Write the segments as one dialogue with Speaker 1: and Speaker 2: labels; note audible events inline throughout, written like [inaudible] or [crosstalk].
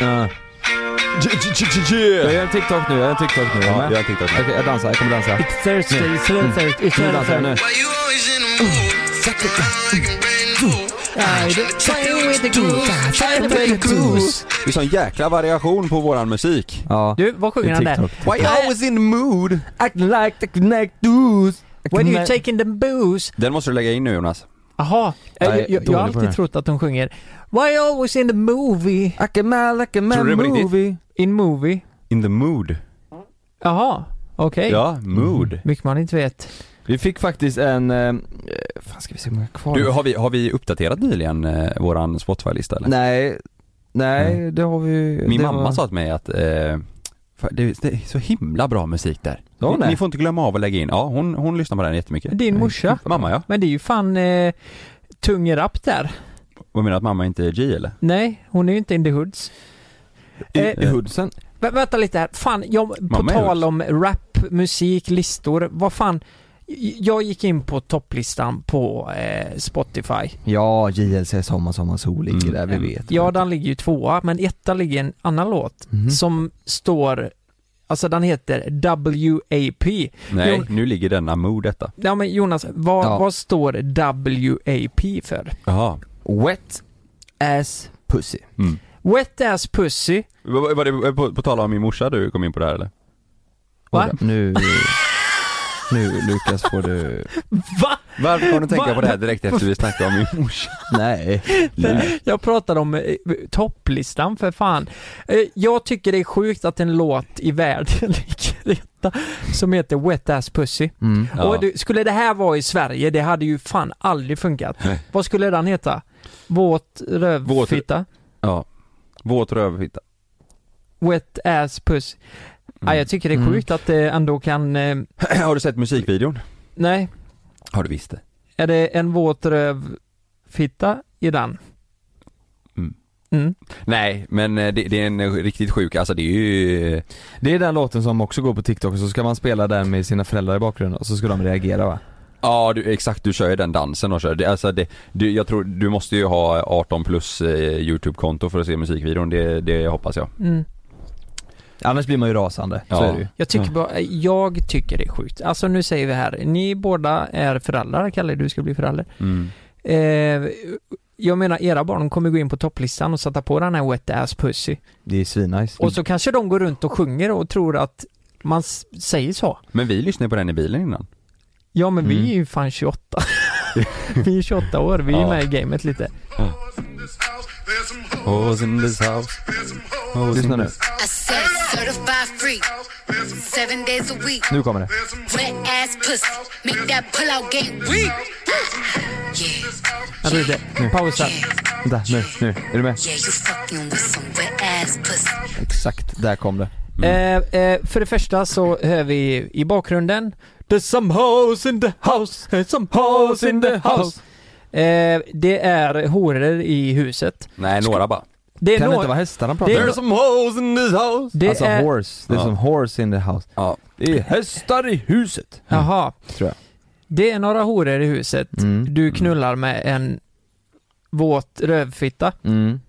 Speaker 1: Ja. Jag gör en TikTok nu, jag gör en TikTok nu.
Speaker 2: Ja,
Speaker 1: Är du med?
Speaker 2: jag tänkte att
Speaker 1: Okej, jag dansar, jag kommer dansa. Mm.
Speaker 3: It's Thursday, it's Thursday, it's
Speaker 1: Nu dansar jag nu.
Speaker 3: Thursday.
Speaker 1: Mm.
Speaker 2: Det är sån jäkla variation på våran musik.
Speaker 1: Ja.
Speaker 3: Du, vad sjunger han där?
Speaker 2: Why always in the mood?
Speaker 3: Acting like the connect dudes. When you
Speaker 1: Nej.
Speaker 3: taking the booze.
Speaker 2: Den måste du lägga in nu Jonas.
Speaker 3: Jaha,
Speaker 1: Jag är
Speaker 3: jag, jag, jag
Speaker 1: dålig
Speaker 3: har
Speaker 1: på det här.
Speaker 3: alltid trott att de sjunger Why always in the movie?
Speaker 1: Akamal,
Speaker 2: Tror
Speaker 1: Akamal
Speaker 2: du det var riktigt?
Speaker 1: movie.
Speaker 3: In movie?
Speaker 2: In the mood.
Speaker 3: Jaha, okej.
Speaker 2: Ja, mood.
Speaker 3: Mycket man inte vet.
Speaker 1: Mm. Vi fick faktiskt en... eh, Fan ska vi se hur många kvar?
Speaker 2: Du, har vi, har vi uppdaterat nyligen eh, våran Spotify-lista eller?
Speaker 1: Nej, nej det har vi ju-
Speaker 2: Min
Speaker 1: det
Speaker 2: mamma
Speaker 1: var-
Speaker 2: sa till mig att eh, fan, det, det är så himla bra musik där.
Speaker 1: Ja,
Speaker 2: ni,
Speaker 1: nej.
Speaker 2: ni får inte glömma av att lägga in. Ja, hon, hon lyssnar på den jättemycket. Eh,
Speaker 3: Din morsa.
Speaker 2: Mamma ja.
Speaker 3: Men det är ju fan eh, tung rap där.
Speaker 2: Vad menar du att mamma inte är G eller?
Speaker 3: Nej, hon är ju inte in the hoods.
Speaker 1: I, i
Speaker 2: Eh,
Speaker 1: hoodsen.
Speaker 3: Vä vänta lite här. Fan, jag, på
Speaker 2: Mamma är
Speaker 3: tal om rap, musik, listor. Vad fan. J- Jag gick in på topplistan på eh, Spotify.
Speaker 1: Ja, JLC Sommar Sommar Sol ligger
Speaker 2: Mm.
Speaker 1: där, vi vet.
Speaker 3: Ja, den ligger ju tvåa, men etta ligger en annan låt
Speaker 1: Mhm.
Speaker 3: som står, alltså den heter WAP.
Speaker 2: Nej,
Speaker 3: Jo.
Speaker 2: nu ligger denna mood detta.
Speaker 3: Ja men Jonas, vad,
Speaker 1: Ja.
Speaker 3: vad står WAP för?
Speaker 2: Jaha.
Speaker 1: Wet ass pussy.
Speaker 2: Mm.
Speaker 3: Wet ass pussy.
Speaker 2: Var, var det på, på tal om min morsa du kom in på det här eller?
Speaker 3: Va?
Speaker 1: Oj då, Nu, nu Lukas får du...
Speaker 3: Va?
Speaker 2: Varför kom du
Speaker 3: tänka
Speaker 2: tänka
Speaker 3: på
Speaker 2: på det här direkt efter vi snackade om min [laughs] morsa?
Speaker 1: Nej.
Speaker 2: [laughs]
Speaker 1: Nej.
Speaker 3: Jag pratade om eh, topplistan för fan. Eh, Jag tycker det är sjukt att en låt i världen [laughs] ligger etta som heter Wet ass pussy.
Speaker 1: Mm.
Speaker 2: Ja.
Speaker 3: Och du, skulle det här vara i Sverige, det hade ju fan aldrig funkat.
Speaker 2: Nej.
Speaker 3: Vad skulle den heta? Våt
Speaker 2: Våt-
Speaker 3: rövfitta?
Speaker 2: Ja. Våt rövfitta.
Speaker 3: Wet ass puss. Ja, jag tycker det är
Speaker 1: Mm.
Speaker 3: sjukt att det ändå kan... Eh,
Speaker 2: [clears throat] Har du sett musikvideon?
Speaker 3: nej,
Speaker 2: Har du visst det?
Speaker 3: är det en våt rövfitta i den?
Speaker 2: Mm.
Speaker 3: Mm.
Speaker 2: Nej, men eh, det, det är en eh, riktigt sjuk, alltså det är ju...
Speaker 1: Det är den låten som också går på TikTok och så ska man spela den med sina föräldrar i bakgrunden och så ska de reagera va?
Speaker 2: Ja, du, exakt, du kör ju den dansen och kör. Det, alltså det, du, jag tror, du måste ju ha 18 plus eh, YouTube-konto för att se musikvideon, det, det hoppas jag.
Speaker 3: Mm.
Speaker 1: Annars blir man ju rasande, så
Speaker 2: Ja.
Speaker 1: är det ju.
Speaker 3: Jag, tycker bara, jag tycker det är sjukt. Alltså nu säger vi här, ni båda är föräldrar, Kalle du ska bli förälder.
Speaker 2: Mm.
Speaker 3: Eh, jag menar era barn kommer gå in på topplistan och sätta på den här wet ass pussy.
Speaker 1: Det är svinnice.
Speaker 2: Mm.
Speaker 3: Och så kanske de går runt och sjunger och tror att man s- säger så.
Speaker 2: Men vi lyssnade på den i bilen innan.
Speaker 3: Ja men vi
Speaker 1: Mm.
Speaker 3: är ju
Speaker 2: [laughs]
Speaker 3: fan 28. vi är 28 år, vi är
Speaker 2: Ja.
Speaker 3: med i gamet lite.
Speaker 2: Hoes in this house. Hoes
Speaker 1: Lyssna nu.
Speaker 4: I said certified freak. Seven days a week.
Speaker 1: Nu kommer det.
Speaker 4: Wet ass pussy. Make that pull out game weak. Yeah,
Speaker 3: Vänta lite, pausa.
Speaker 1: Vänta, nu, nu. Är du med?
Speaker 4: yeah, you fucking with some wet ass pussy.
Speaker 1: Exakt, där kom det.
Speaker 2: Mm.
Speaker 3: Eh, eh, för det första så hör vi i bakgrunden There's some hoes in the house, there's some hoes in the house. Eh, det är horor i huset.
Speaker 2: Nej, några bara.
Speaker 3: Det är
Speaker 1: Kan det
Speaker 3: några-
Speaker 1: inte vara hästarna
Speaker 3: Det
Speaker 1: pratar
Speaker 3: är
Speaker 1: om?
Speaker 3: no-
Speaker 2: some hoes in this house.
Speaker 3: det
Speaker 1: Alltså
Speaker 3: är...
Speaker 1: horse, det är
Speaker 2: Ja.
Speaker 1: som horse in the house.
Speaker 2: Ja.
Speaker 1: Det är hästar i huset.
Speaker 3: Jaha.
Speaker 1: mm, Tror jag.
Speaker 3: Det är några horor i huset.
Speaker 1: Mm.
Speaker 3: Du knullar med en våt rövfitta.
Speaker 1: Mm.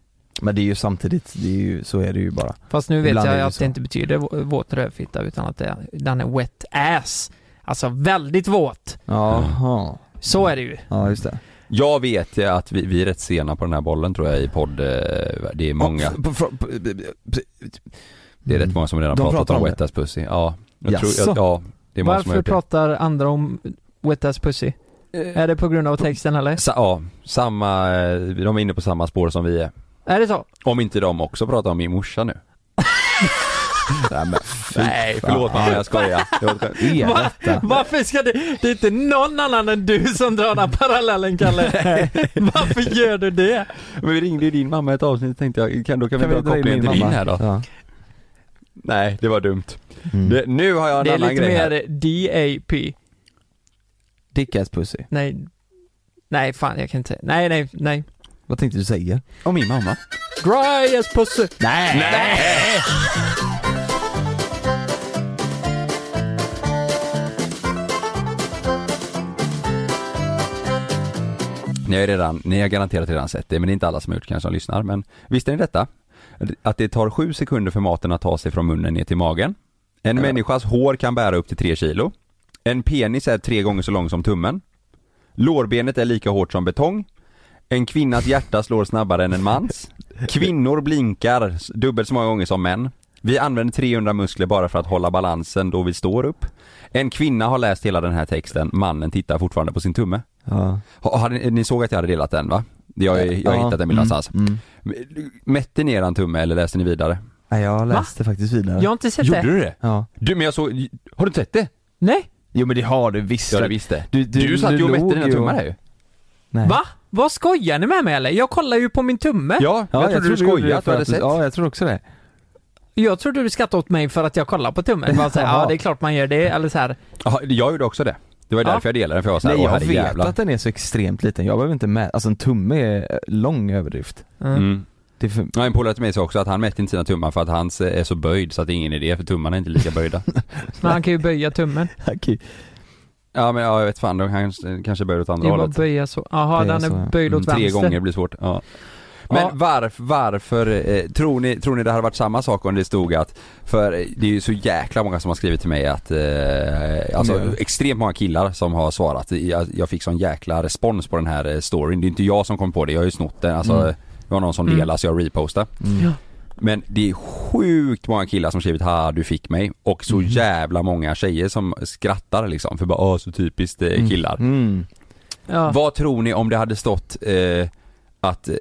Speaker 1: Men det är ju samtidigt, det är ju, så är det ju bara.
Speaker 3: Fast nu vet
Speaker 1: Ibland är
Speaker 3: jag
Speaker 1: det
Speaker 3: att
Speaker 1: så.
Speaker 3: det inte betyder vå- våt rövfitta utan att det är, den är wet ass. Alltså väldigt våt.
Speaker 1: Jaha.
Speaker 3: Så är det ju.
Speaker 1: Ja, just det.
Speaker 2: Jag vet ju att vi, vi är rätt sena på den här bollen tror jag i podd. eh, Det är många,
Speaker 1: På- på- på-
Speaker 2: det är rätt många som redan
Speaker 1: De
Speaker 2: pratat
Speaker 1: pratar
Speaker 2: om
Speaker 1: om
Speaker 2: Wet Ass Pussy. Ja, jag tror,
Speaker 1: Jaså?
Speaker 2: jag, ja. Det är många som har
Speaker 3: Varför
Speaker 2: gjort det.
Speaker 3: pratar andra om Wet Ass Pussy? Är det på grund av texten eller?
Speaker 2: Sa, ja, samma, eh, de är inne på samma spår som vi är.
Speaker 3: Är det så?
Speaker 2: Om inte de också pratar om min morsa [laughs] nu. Nej, men, Nej förlåt mamma [laughs] jag skojar. Det var ett skämt.
Speaker 1: Är detta?
Speaker 3: Varför ska det... Det är inte någon annan än du som drar den här parallellen Kalle.
Speaker 2: [laughs]
Speaker 3: Varför gör du det?
Speaker 2: Men vi ringde ju din mamma i ett avsnitt tänkte jag, kan, då kan, vi dra
Speaker 1: dra in
Speaker 2: kopplingen till din
Speaker 1: min mamma?
Speaker 2: här då?
Speaker 1: Ja.
Speaker 2: Nej, det var dumt.
Speaker 1: Mm.
Speaker 2: Det, nu har jag en
Speaker 3: Det är
Speaker 2: annan
Speaker 3: lite
Speaker 2: grej här.
Speaker 3: mer DAP.
Speaker 1: Dickass pussy.
Speaker 3: Nej. Nej fan jag kan inte. Nej nej nej.
Speaker 1: Vad tänkte du säga?
Speaker 2: Om min mamma.
Speaker 3: Dry as pussy.
Speaker 1: Nej!
Speaker 2: Ni har ju redan, ni har garanterat redan sett det, men det är inte alla som har gjort det kanske som lyssnar. Men visste ni detta? Att det tar sju sekunder för maten att ta sig från munnen ner till magen. En människas hår kan bära upp till tre kilo. En penis är tre gånger så lång som tummen. Lårbenet är lika hårt som betong. En kvinnas hjärta slår snabbare än en mans. Kvinnor blinkar s- dubbelt så många gånger som män. Vi använder 300 muskler bara för att hålla balansen då vi står upp. En kvinna har läst hela den här texten, mannen tittar fortfarande på sin tumme.
Speaker 1: Ja.
Speaker 2: Ha- Hade, ni- ni såg att jag hade delat den va? Jag, jag, har
Speaker 1: Ja. Mm.
Speaker 2: hittat den bild någonstans. Mm. Mätte ni eran tumme eller läste ni vidare?
Speaker 1: Nej jag läste faktiskt vidare.
Speaker 3: Jag har inte sett
Speaker 2: Gjorde
Speaker 3: det.
Speaker 2: du det?
Speaker 1: Ja.
Speaker 2: Du men jag såg, har du inte sett det?
Speaker 3: Nej.
Speaker 1: Jo men det har du visst.
Speaker 2: Ja det visste.
Speaker 1: Du-
Speaker 2: Du,
Speaker 1: du-
Speaker 2: du, satt
Speaker 1: du
Speaker 2: ju och
Speaker 1: låg
Speaker 2: mätte dina
Speaker 1: ju
Speaker 2: tummar
Speaker 1: och-
Speaker 2: här ju.
Speaker 1: Nej.
Speaker 3: Va? Vad skojar ni med mig eller? Jag kollar ju på min tumme.
Speaker 2: Ja,
Speaker 1: Ja,
Speaker 2: jag, trodde du
Speaker 1: gjorde det
Speaker 2: skojade att du
Speaker 1: för
Speaker 2: hade sett.
Speaker 1: Ja jag tror också det.
Speaker 3: Jag trodde du skrattade åt mig för att jag kollar på tummen.
Speaker 2: [laughs]
Speaker 3: Bara så här,
Speaker 1: Jaha.
Speaker 3: ja det är klart man gör det. Eller så här.
Speaker 2: Ja, jag gjorde också det. Det var ju
Speaker 3: Ja.
Speaker 2: därför jag delade den för jag var såhär,
Speaker 1: Nej
Speaker 2: åh
Speaker 1: jag vet
Speaker 2: herrejävlar.
Speaker 1: att den är så extremt liten, jag behöver inte mäta, alltså en tumme är eh, lång överdrift.
Speaker 2: Mm.
Speaker 1: Det
Speaker 2: [laughs]
Speaker 1: är för...
Speaker 2: Ja, en polare till mig sa också att han mätte inte sina tummar för att hans eh, är så böjd så att det är ingen idé för tummarna är inte lika [laughs] böjda.
Speaker 3: Men han kan ju böja tummen.
Speaker 1: Okej.
Speaker 2: ja men ja, jag vet fan, de kanske, kanske böjer åt
Speaker 3: Det
Speaker 2: andra
Speaker 3: är bara
Speaker 2: hållet.
Speaker 3: att böja så. Jaha,
Speaker 1: Böja
Speaker 3: den
Speaker 1: så, ja.
Speaker 3: är böjd åt
Speaker 2: Mm, Tre
Speaker 3: vänster.
Speaker 2: gånger blir svårt, ja. Men
Speaker 3: Ja.
Speaker 2: varf, varför, eh, tror, ni, tror ni det hade varit samma sak om det stod att, för eh, det är ju så jäkla många som har skrivit till mig att, eh, alltså
Speaker 1: Mm.
Speaker 2: extremt många killar som har svarat, jag, jag fick sån jäkla respons på den här eh, storyn, det är inte jag som kom på det, jag har ju snott den, alltså
Speaker 1: Mm.
Speaker 2: det var någon som
Speaker 3: Mm.
Speaker 2: delade så jag repostade.
Speaker 1: Mm.
Speaker 3: Ja.
Speaker 2: Men det är sjukt många killar som skrivit 'ha du fick mig' och så jävla många tjejer som skrattar liksom för bara 'åh så typiskt eh, killar'
Speaker 1: Mm.
Speaker 3: Ja.
Speaker 2: Vad tror ni om det hade stått eh, att, eh,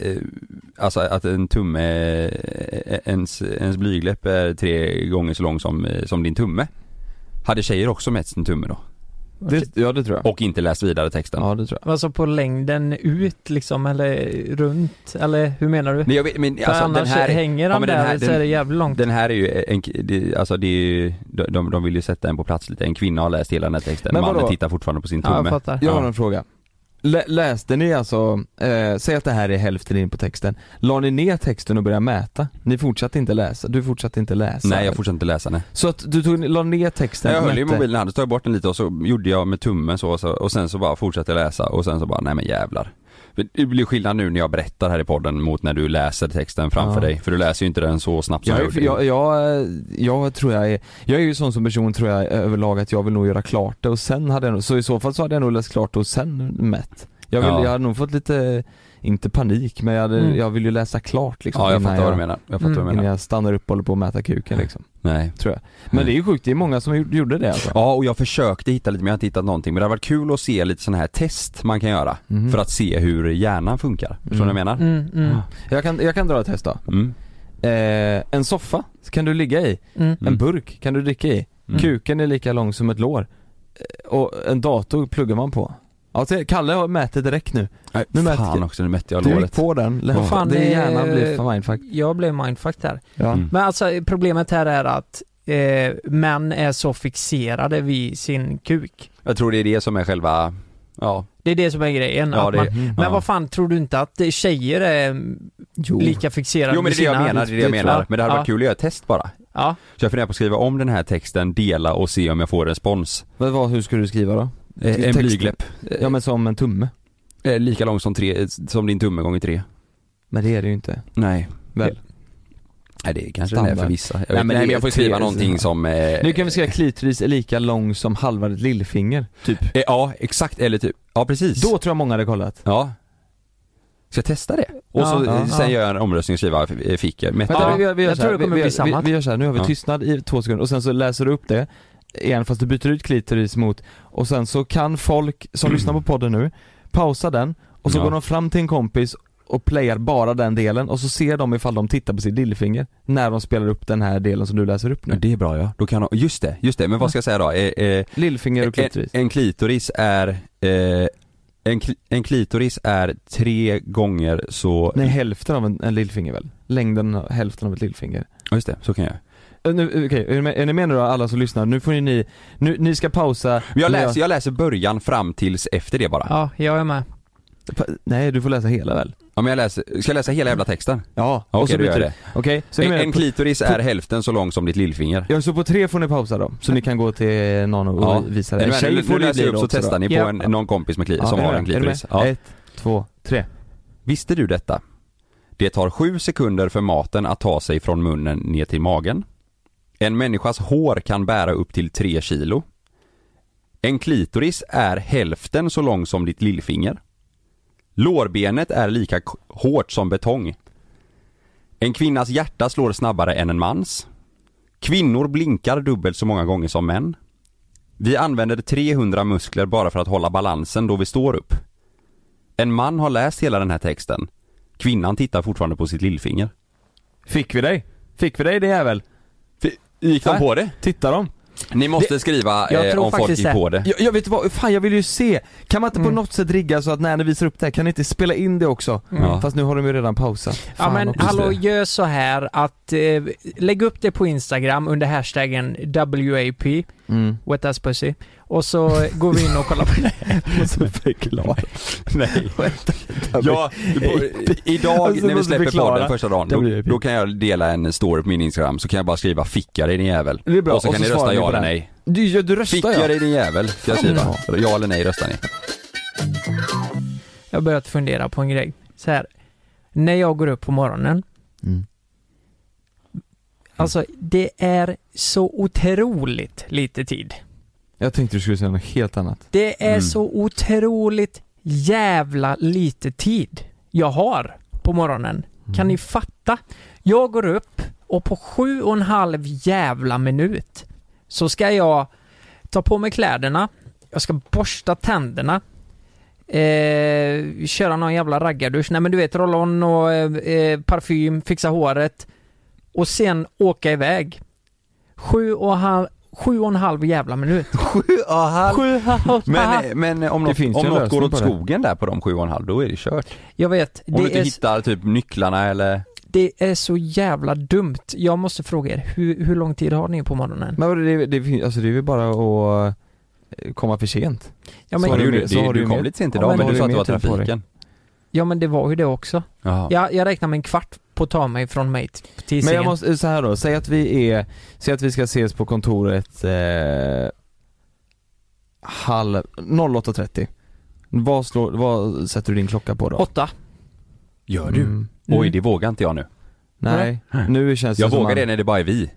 Speaker 2: alltså att en tumme, eh, ens, ens blygläpp är tre gånger så lång som, eh, som din tumme? Hade tjejer också mätt sin tumme då?
Speaker 1: Det, ja det tror jag.
Speaker 2: Och inte läst vidare texten?
Speaker 1: Ja det tror jag.
Speaker 3: Alltså på längden ut liksom eller runt? Eller hur menar du?
Speaker 2: Men jag vet, men
Speaker 3: För
Speaker 2: alltså den
Speaker 3: annars
Speaker 2: här,
Speaker 3: hänger han
Speaker 2: ja, men den
Speaker 3: där
Speaker 2: här-
Speaker 3: så är det jävligt långt.
Speaker 2: den här är ju en, det, alltså det är ju, de- de, de vill ju sätta en på plats lite. En kvinna har läst hela den här texten,
Speaker 1: Men vadå?
Speaker 2: mannen tittar fortfarande på sin
Speaker 3: ja, jag
Speaker 2: tumme.
Speaker 3: fattar.
Speaker 1: Jag har en fråga. Lä, läste ni alltså, eh, säg att det här är hälften in på texten, la ni ner texten och började mäta? Ni fortsatte inte läsa, du fortsatte inte läsa?
Speaker 2: Nej jag fortsätter inte läsa den.
Speaker 1: Så att du tog, la ner texten?
Speaker 2: jag höll ju
Speaker 1: mätte?
Speaker 2: mobilen i handen, så tog jag bort den lite och så gjorde jag med tummen så och, så, och sen så bara fortsatte jag läsa och sen så bara, nej men jävlar. För Det blir skillnad nu när jag berättar här i podden mot när du läser texten framför
Speaker 1: Ja.
Speaker 2: dig, för du läser ju inte den så snabbt som
Speaker 1: Jag,
Speaker 2: jag,
Speaker 1: är-
Speaker 2: gjorde.
Speaker 1: jag, jag, eh, jag tror jag är, jag är ju sån som person tror jag överlag att jag vill nog göra klart det och sen hade jag nog, så i så fall så hade jag nog läst klart det och sen mätt. Jag, vill,
Speaker 2: Ja.
Speaker 1: jag hade nog fått lite, inte panik men jag, hade,
Speaker 3: Mm.
Speaker 1: jag vill ju läsa klart liksom
Speaker 2: ja jag
Speaker 1: innan
Speaker 2: fattar vad du menar, Mm. jag fattar vad du
Speaker 1: Innan
Speaker 2: menar.
Speaker 1: jag stannar upp och håller på att mäta kuken liksom,
Speaker 2: Nej.
Speaker 1: tror jag. Men det är ju sjukt, det är många som gjorde- gjorde det alltså.
Speaker 2: Ja och jag försökte hitta lite men jag har inte hittat någonting. Men det hade varit kul att se lite sådana här test man kan göra
Speaker 1: Mhm.
Speaker 2: för att se hur hjärnan funkar. Förstår du vad jag menar?
Speaker 3: Mm, mm,
Speaker 1: Jag kan, jag kan dra ett test då.
Speaker 2: Mm.
Speaker 1: Eh, en soffa kan du ligga i,
Speaker 3: mm.
Speaker 1: en burk kan du dricka i,
Speaker 2: Mm.
Speaker 1: kuken är lika lång som ett lår Eh, och en dator pluggar man på. Ja, se, Kalle har mäter direkt nu.
Speaker 2: Nej,
Speaker 1: Nu mäter
Speaker 2: fan
Speaker 1: jag.
Speaker 2: också, nu mätte jag
Speaker 1: Du gick
Speaker 2: låret.
Speaker 1: på den. Lätt.
Speaker 3: Vad fan
Speaker 1: det
Speaker 3: är-
Speaker 1: är gärna blir för mindfuck.
Speaker 3: Jag blev mindfucked här.
Speaker 1: Ja.
Speaker 2: Mm.
Speaker 3: Men alltså problemet här är att eh, män är så fixerade vid sin kuk.
Speaker 2: Jag tror det är det som är själva, ja.
Speaker 3: Det är det som är grejen.
Speaker 2: Ja,
Speaker 3: att
Speaker 2: det-
Speaker 3: man,
Speaker 1: Mm.
Speaker 3: men
Speaker 2: ja.
Speaker 3: vad fan, tror du inte att tjejer är
Speaker 1: Jo.
Speaker 3: lika fixerade
Speaker 2: Jo men
Speaker 3: vid
Speaker 2: det är det jag
Speaker 3: sina-
Speaker 2: menar, det är det jag
Speaker 3: tror
Speaker 2: menar. Men det hade
Speaker 3: ja.
Speaker 2: varit kul att göra ett test bara.
Speaker 3: Ja.
Speaker 2: Så jag funderar på att skriva om den här texten, dela och se om jag får respons.
Speaker 1: Men vad, hur skulle du skriva då?
Speaker 2: Eh, en
Speaker 1: Texten.
Speaker 2: blygläpp.
Speaker 1: Ja men som en tumme.
Speaker 2: Eh, lika lång som, tre, som din tumme gånger tre.
Speaker 1: Men det är det ju inte.
Speaker 2: Nej.
Speaker 1: Väl?
Speaker 2: Eh, Nej det är kanske
Speaker 1: Standard.
Speaker 2: det är för vissa. Jag
Speaker 1: Nej,
Speaker 2: vet, nej,
Speaker 1: men
Speaker 2: men,
Speaker 1: det är
Speaker 2: jag får skriva
Speaker 1: tre-
Speaker 2: någonting som... Eh,
Speaker 1: Nu kan vi skriva klitoris är lika lång som halva ditt lillfinger. Typ.
Speaker 2: eh, ja exakt, eller typ, ja precis.
Speaker 1: Då tror jag många hade kollat.
Speaker 2: Ja, Ska jag testa det? Och så,
Speaker 1: Ja.
Speaker 2: sen gör jag en omröstning och skriver eh, fick jag, mättade
Speaker 1: Vänta,
Speaker 2: jag?
Speaker 1: vi, vi, vi gör
Speaker 3: Jag
Speaker 1: så här.
Speaker 3: tror det kommer
Speaker 1: vi,
Speaker 3: bli
Speaker 1: vi,
Speaker 3: samma.
Speaker 1: Vi, vi gör så här, nu har vi
Speaker 2: Ja.
Speaker 1: tystnad i två sekunder och sen så läser du upp det igen fast du byter ut klitoris mot och sen så kan folk som lyssnar på podden nu pausa den och så
Speaker 2: Mm. Ja.
Speaker 1: går de fram till en kompis och playar bara den delen och så ser de ifall de tittar på sitt lillfinger när de spelar upp den här delen som du läser upp
Speaker 2: Ja,
Speaker 1: nu.
Speaker 2: det är bra ja. Då kan, just det, just det. Men vad ska jag säga då? Eh, eh,
Speaker 1: Lillfinger och klitoris.
Speaker 2: En, en klitoris är, eh, en, kli- en klitoris är tre gånger så,
Speaker 1: Nej, hälften av en, en lillfinger väl? Längden, av- hälften av ett lillfinger.
Speaker 2: ja just det, så kan jag.
Speaker 1: Ö, Nu, okej, är ni med- är ni med nu då alla som lyssnar? Nu får ju ni, nu, ni ska pausa
Speaker 2: Men jag läser, jag läser början fram tills efter det bara.
Speaker 3: Ja, jag är med.
Speaker 1: Pa- Nej, du får läsa hela väl?
Speaker 2: Ja men jag läser, ska jag läsa hela jävla texten?
Speaker 1: Ja,
Speaker 2: Ja,
Speaker 1: och så
Speaker 2: okej, då
Speaker 1: byter
Speaker 2: gör jag
Speaker 1: du.
Speaker 2: det.
Speaker 1: Okej, så ni
Speaker 2: En,
Speaker 1: menar
Speaker 2: en
Speaker 1: på-
Speaker 2: klitoris är hälften så lång som ditt lillfinger.
Speaker 1: Ja, så på tre får ni pausa då, så ni kan gå till någon och
Speaker 2: Ja.
Speaker 1: visa det.
Speaker 2: Nej,
Speaker 1: En
Speaker 2: men, nu, nu
Speaker 1: det
Speaker 2: läser
Speaker 1: bli
Speaker 2: jag upp
Speaker 1: då
Speaker 2: så
Speaker 1: också
Speaker 2: testar
Speaker 1: då.
Speaker 2: ni på
Speaker 3: Ja.
Speaker 2: en, någon kompis med kli,
Speaker 1: Ja,
Speaker 2: som
Speaker 1: är ni
Speaker 2: har
Speaker 1: med?
Speaker 2: en
Speaker 1: Är ni
Speaker 2: klitoris.
Speaker 1: med?
Speaker 2: Ja.
Speaker 1: Ett, två, tre.
Speaker 2: Visste du detta? Det tar sju sekunder för maten att ta sig från munnen ner till magen. En människas hår kan bära upp till tre kilo. En klitoris är hälften så lång som ditt lillfinger. Lårbenet är lika k- hårt som betong. En kvinnas hjärta slår snabbare än en mans. Kvinnor blinkar dubbelt så många gånger som män. Vi använder 300 muskler bara för att hålla balansen då vi står upp. En man har läst hela den här texten. Kvinnan tittar fortfarande på sitt lillfinger.
Speaker 1: Fick vi dig? Fick vi dig det jävel?
Speaker 2: Gick
Speaker 1: Va?
Speaker 2: de på det?
Speaker 1: Titta dem.
Speaker 2: Ni måste skriva
Speaker 3: jag
Speaker 2: eh,
Speaker 3: tror
Speaker 2: om folk
Speaker 3: faktiskt
Speaker 2: gick
Speaker 3: det.
Speaker 2: på det.
Speaker 1: Jag, jag vet vad, fan jag vill ju se! Kan man inte på något sätt rigga så att när ni visar upp det här, kan ni inte spela in det också?
Speaker 2: Ja.
Speaker 1: Fast nu har de ju redan pausat.
Speaker 3: Ja
Speaker 1: Fan
Speaker 3: men
Speaker 1: också.
Speaker 3: hallå,
Speaker 2: det.
Speaker 3: gör så här att eh, lägg upp det på Instagram under hashtaggen WAP,
Speaker 1: [laughs] Mm.
Speaker 3: wet ass pussy, och så går vi in och kollar på det.
Speaker 1: Superklar.
Speaker 2: Nej.
Speaker 1: Ja,
Speaker 2: Ja, på, idag
Speaker 1: Alltså,
Speaker 2: när vi
Speaker 1: måste
Speaker 2: släpper
Speaker 1: förklara.
Speaker 2: podden första dagen,
Speaker 1: Det blir
Speaker 2: då,
Speaker 1: ju
Speaker 2: då kan jag dela en story på min Instagram så kan jag bara skriva 'Ficka dig din jävel'
Speaker 1: det är bra.
Speaker 2: och så kan ni
Speaker 1: svarar
Speaker 2: rösta
Speaker 1: på
Speaker 2: ja eller
Speaker 1: den.
Speaker 2: nej.
Speaker 1: [laughs] Du, ja, du röstar
Speaker 2: Ficka
Speaker 1: ja.
Speaker 2: dig din jävel, ska jag skriva.
Speaker 1: Ja.
Speaker 2: Ja eller nej röstar ni.
Speaker 3: Jag har börjat fundera på en grej. Så här, när jag går upp på morgonen,
Speaker 1: Mm.
Speaker 3: alltså det är så otroligt lite tid.
Speaker 1: Jag tänkte du skulle säga något helt annat.
Speaker 3: Det är
Speaker 2: Mm.
Speaker 3: så otroligt jävla lite tid jag har på morgonen.
Speaker 2: Mm.
Speaker 3: Kan ni fatta? Jag går upp och på sju och en halv jävla minut så ska jag ta på mig kläderna, jag ska borsta tänderna, eh, köra någon jävla raggardusch, nej men du vet roll-on och eh, eh, parfym, fixa håret och sen åka iväg. Sju och, en halv, sju och en halv jävla minut. Sju och en halv.
Speaker 2: Men, eh, men om
Speaker 1: Det
Speaker 2: något,
Speaker 1: finns ju
Speaker 2: om
Speaker 1: en
Speaker 2: något
Speaker 1: lösning
Speaker 2: går åt
Speaker 1: på det.
Speaker 2: skogen där på de sju och en halv, då är det kört.
Speaker 3: Jag vet,
Speaker 2: Om du inte
Speaker 3: det är,
Speaker 2: hittar typ nycklarna eller...
Speaker 3: det är så jävla dumt. Jag måste fråga er, hur, hur lång tid har ni på morgonen?
Speaker 1: Men vadå, det, det, fin- alltså det är väl bara att eh, komma för sent.
Speaker 3: Ja
Speaker 1: Så
Speaker 2: Men
Speaker 1: har
Speaker 3: men,
Speaker 2: du, gjorde-
Speaker 1: du mer-
Speaker 2: du,
Speaker 1: så har du ju
Speaker 2: kom
Speaker 1: mer-
Speaker 2: lite sent
Speaker 1: Ja,
Speaker 2: idag
Speaker 1: men
Speaker 2: men
Speaker 1: har
Speaker 2: du
Speaker 1: du
Speaker 2: sa att det
Speaker 1: mer
Speaker 2: var
Speaker 1: tid på dig?
Speaker 2: trafiken.
Speaker 3: ja, men det var ju det också.
Speaker 2: Jaha.
Speaker 3: Jag, jag räknar med en kvart på att ta mig från mig t- till
Speaker 1: Men jag
Speaker 3: sängen.
Speaker 1: måste, eh, så här då, säg att vi är, säg att vi ska ses på kontoret eh, halv, 08.30. Vad, slår, vad sätter du din klocka på då?
Speaker 3: Åtta.
Speaker 2: Gör du?
Speaker 1: Mm.
Speaker 2: Oj, det vågar inte jag nu.
Speaker 1: Nej, nu känns det
Speaker 2: Jag
Speaker 1: som
Speaker 2: vågar
Speaker 1: man-
Speaker 2: det när det bara är vi.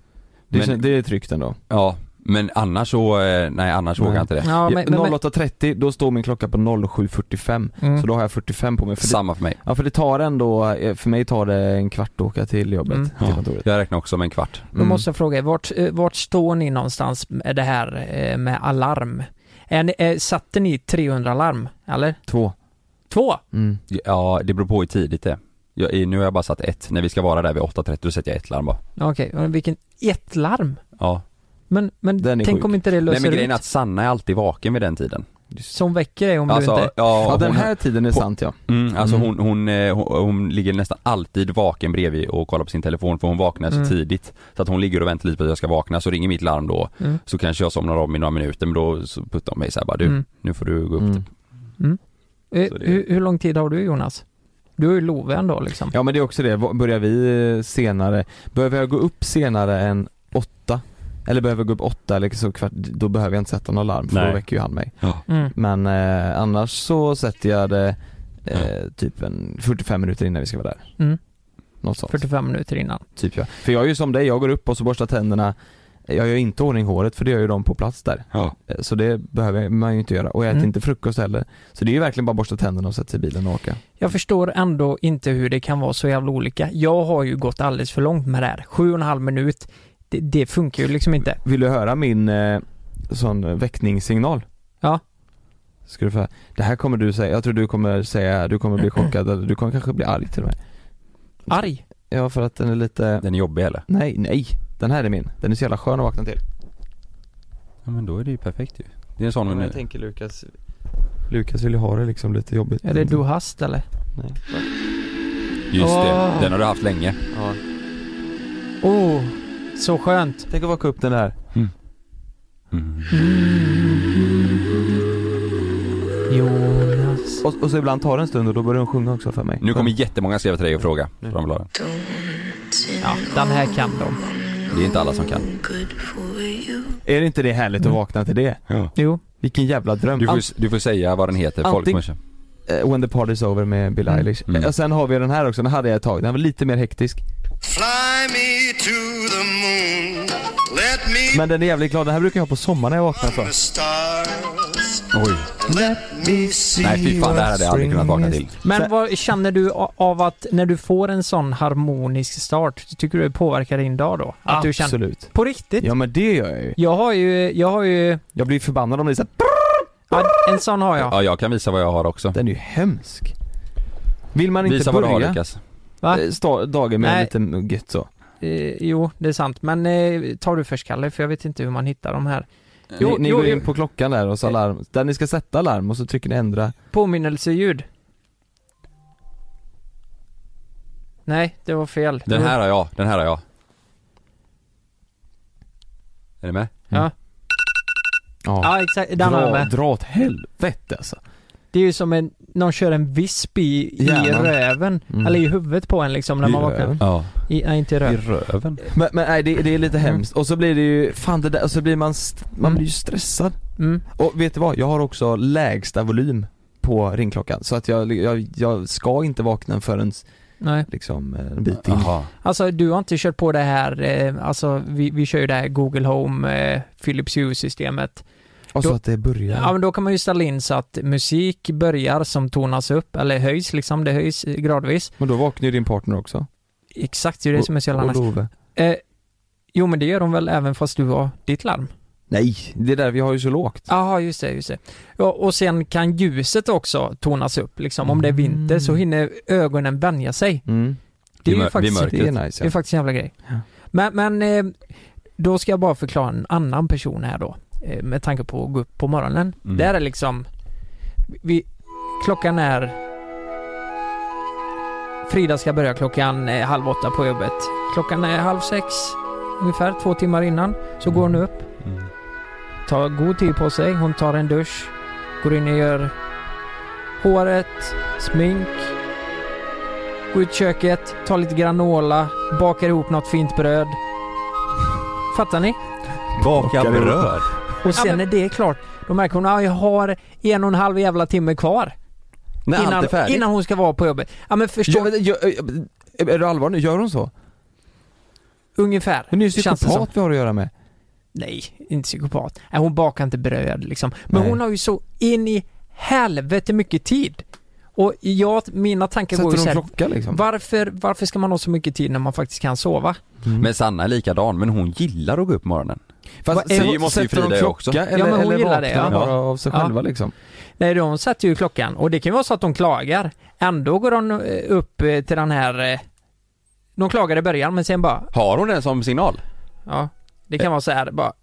Speaker 1: det,
Speaker 2: men-
Speaker 1: kän- det är tryggt ändå.
Speaker 2: Ja, men annars så, eh, nej annars
Speaker 1: Nej.
Speaker 2: vågar jag inte det.
Speaker 3: Mm. Ja, men, men, men,
Speaker 1: 08.30, då står min klocka på 07.45.
Speaker 3: Mm.
Speaker 1: Så då har jag 45 på mig. För det,
Speaker 2: Samma för mig.
Speaker 1: ja för det tar ändå, eh, för mig tar det en kvart att åka till jobbet,
Speaker 3: Mm.
Speaker 1: till kontoret. Mm.
Speaker 2: Jag räknar också med en kvart.
Speaker 3: då måste jag fråga er, vart, eh, vart står ni någonstans med det här eh, med alarm? Är ni, eh, satte ni 300 larm? Eller?
Speaker 1: Två.
Speaker 3: Två?
Speaker 1: Mm.
Speaker 2: Ja, det beror på hur tidigt det är. jag, i- Nu har jag bara satt ett. När vi ska vara där vid 8.30 då sätter jag ett larm bara.
Speaker 3: Okej, men vilken... Ett larm?
Speaker 2: Ja.
Speaker 3: Men, men
Speaker 1: Den är
Speaker 3: tänk
Speaker 1: sjuk.
Speaker 3: om inte det
Speaker 2: Nej
Speaker 3: löser
Speaker 2: men grejen
Speaker 3: ut?
Speaker 2: är att Sanna är alltid vaken vid den tiden.
Speaker 3: Som väcker dig om du
Speaker 2: Alltså,
Speaker 3: inte...
Speaker 2: ja,
Speaker 1: Ja, den
Speaker 2: hon,
Speaker 1: här tiden är
Speaker 2: på-
Speaker 1: sant ja.
Speaker 2: mm, alltså
Speaker 1: Mm.
Speaker 2: hon, hon, eh, hon, hon ligger nästan alltid vaken bredvid och kollar på sin telefon för hon vaknar så
Speaker 3: Mm.
Speaker 2: tidigt. Så att hon ligger och väntar lite på att jag ska vakna, så ringer mitt larm då.
Speaker 3: Mm.
Speaker 2: Så kanske jag somnar om i några minuter men då så puttar hon mig så här bara du,
Speaker 3: Mm.
Speaker 2: nu får du gå upp.
Speaker 1: Mm.
Speaker 3: Eh,
Speaker 2: Så det-
Speaker 3: hur, hur lång tid har du Jonas? Du har ju Love ändå liksom.
Speaker 1: Ja men det är också det, Va- börjar vi eh, senare, behöver jag gå upp senare än åtta? Eller behöver jag gå upp åtta eller så kvart, då behöver jag inte sätta någon larm för då
Speaker 2: Nej.
Speaker 1: väcker ju han mig.
Speaker 3: Mm.
Speaker 1: Men eh, annars så sätter jag det eh, typ en 45 minuter innan vi ska vara där.
Speaker 3: Mm.
Speaker 1: Något sånt.
Speaker 3: 45 minuter innan.
Speaker 1: Typ ja. För jag är ju som dig, jag går upp och så borstar tänderna Jag gör inte ordning håret för det gör ju de på plats där.
Speaker 2: Ja.
Speaker 1: Eh, Så det behöver jag- man ju inte göra. Och jag äter
Speaker 3: Mm.
Speaker 1: inte frukost heller. Så det är ju verkligen bara borsta tänderna och sätta sig i bilen och åka.
Speaker 3: Jag förstår ändå inte hur det kan vara så jävla olika. Jag har ju gått alldeles för långt med det här. Sju och en halv minut, det, det funkar ju liksom inte.
Speaker 1: Vill du höra min eh, sån väckningssignal?
Speaker 3: Ja.
Speaker 1: Ska du få höra? Det här kommer du säga, jag tror du kommer säga, du kommer bli chockad eller du kommer kanske bli arg till och med.
Speaker 3: Arg.
Speaker 1: Ja för att den är lite,
Speaker 2: Den är jobbig eller?
Speaker 1: nej, nej. Den här är min. Den är så jävla skön att vakna till.
Speaker 2: Ja men då är det ju perfekt ju. Det är en sån
Speaker 1: Men
Speaker 2: nu.
Speaker 1: jag tänker Lukas Lukas vill ju ha det liksom lite jobbigt
Speaker 3: Är det du hast eller?
Speaker 1: Nej.
Speaker 2: Just
Speaker 3: Åh.
Speaker 2: det, den har du haft länge.
Speaker 1: Ja.
Speaker 3: Oh, så skönt.
Speaker 1: Tänk att vaka upp den där
Speaker 3: Jonas.
Speaker 1: och, och så ibland tar det en stund och då börjar hon sjunga också för mig
Speaker 2: Nu kommer jättemånga skriva till dig och fråga. Ramladen.
Speaker 3: Ja, den här kan de.
Speaker 2: Det är inte alla som kan.
Speaker 1: Är det inte det härligt
Speaker 3: Mm.
Speaker 1: att vakna till det?
Speaker 3: Jo.
Speaker 1: Vilken jävla dröm
Speaker 2: Du får, du får säga vad den heter, folk kommer
Speaker 1: Antingen-
Speaker 2: köpa.
Speaker 1: Eh, When the party's over med Billie
Speaker 3: Mm.
Speaker 1: Eilish
Speaker 2: Mm.
Speaker 1: Eh, Sen har vi den här också, den hade jag ett tag, den var lite mer hektisk
Speaker 5: Fly me to the moon. Let me
Speaker 1: Men den är jävligt glad, den här brukar jag ha på sommaren när jag vaknar för
Speaker 5: the stars.
Speaker 2: Oj.
Speaker 5: Let me see.
Speaker 2: Nej fy fan, det här hade jag aldrig kunnat vakna till.
Speaker 1: Så-
Speaker 3: Men vad känner du a- av att när du får en sån harmonisk start, tycker du det påverkar din dag då? Att du känner...
Speaker 1: Absolut
Speaker 3: På riktigt?
Speaker 1: Ja men det gör jag ju
Speaker 3: Jag har ju, jag har ju,
Speaker 1: Jag blir förbannad om det är så här,
Speaker 3: ja, en sån har jag.
Speaker 2: Ja, jag kan visa vad jag har också.
Speaker 1: den är ju hemsk Vill man inte
Speaker 2: Visa vad du
Speaker 1: börja
Speaker 2: har Lukas.
Speaker 3: Va?
Speaker 1: eh, sta- dagen med
Speaker 3: Nej.
Speaker 1: lite gött så
Speaker 3: Eh, jo, det är sant. Men eh, tar du först Kalle, för jag vet inte hur man hittar de här. Jo,
Speaker 1: Eh, ni, ni
Speaker 3: jo,
Speaker 1: går
Speaker 3: jo.
Speaker 1: in på klockan där och så alarm, där ni ska sätta alarm och så trycker ni ändra
Speaker 3: eh, Påminnelseljud. Nej, det var fel.
Speaker 2: Den här har jag, den här har jag. Är ni med?
Speaker 1: Mm.
Speaker 3: Ja,
Speaker 1: Ja,
Speaker 3: ja exakt. Den har jag
Speaker 1: dra,
Speaker 3: med.
Speaker 1: dra åt helvete alltså
Speaker 3: Det är ju som en, någon kör en visp i, i
Speaker 1: Hjärnan.
Speaker 3: röven.
Speaker 1: Mm.
Speaker 3: Eller i huvudet på en liksom när
Speaker 1: I
Speaker 3: man vaknar.
Speaker 1: röven.
Speaker 2: Ja.
Speaker 3: I, nej, inte i
Speaker 2: I
Speaker 3: röven.
Speaker 2: röven?
Speaker 1: Men, men nej det, det är lite
Speaker 3: Mm.
Speaker 1: hemskt, och så blir det ju, fan det där, och så blir man, st- man
Speaker 3: Mm.
Speaker 1: blir ju stressad
Speaker 3: Mm.
Speaker 1: Och vet du vad? Jag har också lägsta volym på ringklockan så att jag, jag, jag ska inte vakna förrän
Speaker 3: Nej.
Speaker 1: liksom eh, en bit in.
Speaker 2: Jaha.
Speaker 3: Alltså du har inte kört på det här, eh, alltså vi, vi kör ju det här Google Home, eh, Philips Hue-systemet.
Speaker 1: Och så
Speaker 3: Då-
Speaker 1: att det börjar.
Speaker 3: Ja men då kan man ju ställa in så att musik börjar som tonas upp, eller höjs liksom, det höjs eh, gradvis.
Speaker 1: Men då vaknar ju din partner också.
Speaker 3: Exakt, det är det som är så jävla
Speaker 1: Och
Speaker 3: nice.
Speaker 1: Love.
Speaker 3: Eh, jo men det gör de väl även fast du har ditt larm?
Speaker 1: Nej, det är där vi har ju så lågt.
Speaker 3: Jaha, just det, just det. Ja, och sen kan ljuset också tonas upp liksom. Om det är vinter så hinner ögonen vänja sig.
Speaker 1: Mm.
Speaker 3: Det är
Speaker 2: Vid
Speaker 3: ju
Speaker 2: mör-
Speaker 3: faktiskt,
Speaker 2: vid mörk.
Speaker 1: Det är nice
Speaker 3: det är
Speaker 1: ja.
Speaker 3: faktiskt en jävla grej.
Speaker 1: Ja.
Speaker 3: Men, men eh, då ska jag bara förklara en annan person här då. eh, Med tanke på att gå upp på morgonen.
Speaker 2: Mm.
Speaker 3: Där är liksom, vi, klockan är Frida ska börja klockan eh, halv åtta på jobbet. Klockan är halv sex ungefär, två timmar innan. Så går hon upp
Speaker 2: Mm.
Speaker 3: tar god tid på sig. Hon tar en dusch, går in och gör håret, smink, går ut i köket, tar lite granola, bakar ihop något fint bröd. Fattar ni?
Speaker 2: Baka bröd?
Speaker 3: Och sen när det är klart, då märker hon att jag har en och en halv jävla timme kvar
Speaker 2: När allt
Speaker 3: innan,
Speaker 2: är färdigt?
Speaker 3: innan hon ska vara på jobbet. Ja men förstå,
Speaker 1: Jag vet, jag, jag, är du allvar nu? Gör hon så?
Speaker 3: ungefär.
Speaker 1: Hon är ju
Speaker 3: Det känns det som.
Speaker 1: psykopat vi har att göra med.
Speaker 3: Nej, inte psykopat. Nej, hon bakar inte bröd liksom. Men
Speaker 1: Nej.
Speaker 3: hon har ju så in i helvete mycket tid. Och jag, mina tankar går ju
Speaker 1: Sätter
Speaker 3: så
Speaker 1: hon
Speaker 3: här,
Speaker 1: klocka liksom?
Speaker 3: varför, varför ska man ha så mycket tid när man faktiskt kan sova?
Speaker 2: Men Sanna är likadan, men hon gillar att gå upp på morgonen.
Speaker 1: Fast,
Speaker 3: Vad är-
Speaker 1: sätter-
Speaker 2: Det måste ju
Speaker 1: sätter hon
Speaker 2: Frida
Speaker 1: klocka
Speaker 2: också.
Speaker 1: eller,
Speaker 3: Ja, men hon
Speaker 1: eller
Speaker 3: gillar
Speaker 1: vaknar
Speaker 3: det,
Speaker 1: hon
Speaker 3: ja.
Speaker 1: bara av sig
Speaker 3: Ja.
Speaker 1: själva liksom?
Speaker 3: Nej, de sätter ju klockan och det kan ju vara så att de klagar. Ändå går de eh, upp eh, till den här... eh, De klagar i början men sen bara,
Speaker 2: Har hon den som signal?
Speaker 3: ja. Det
Speaker 1: Eh.
Speaker 3: kan vara så här bara...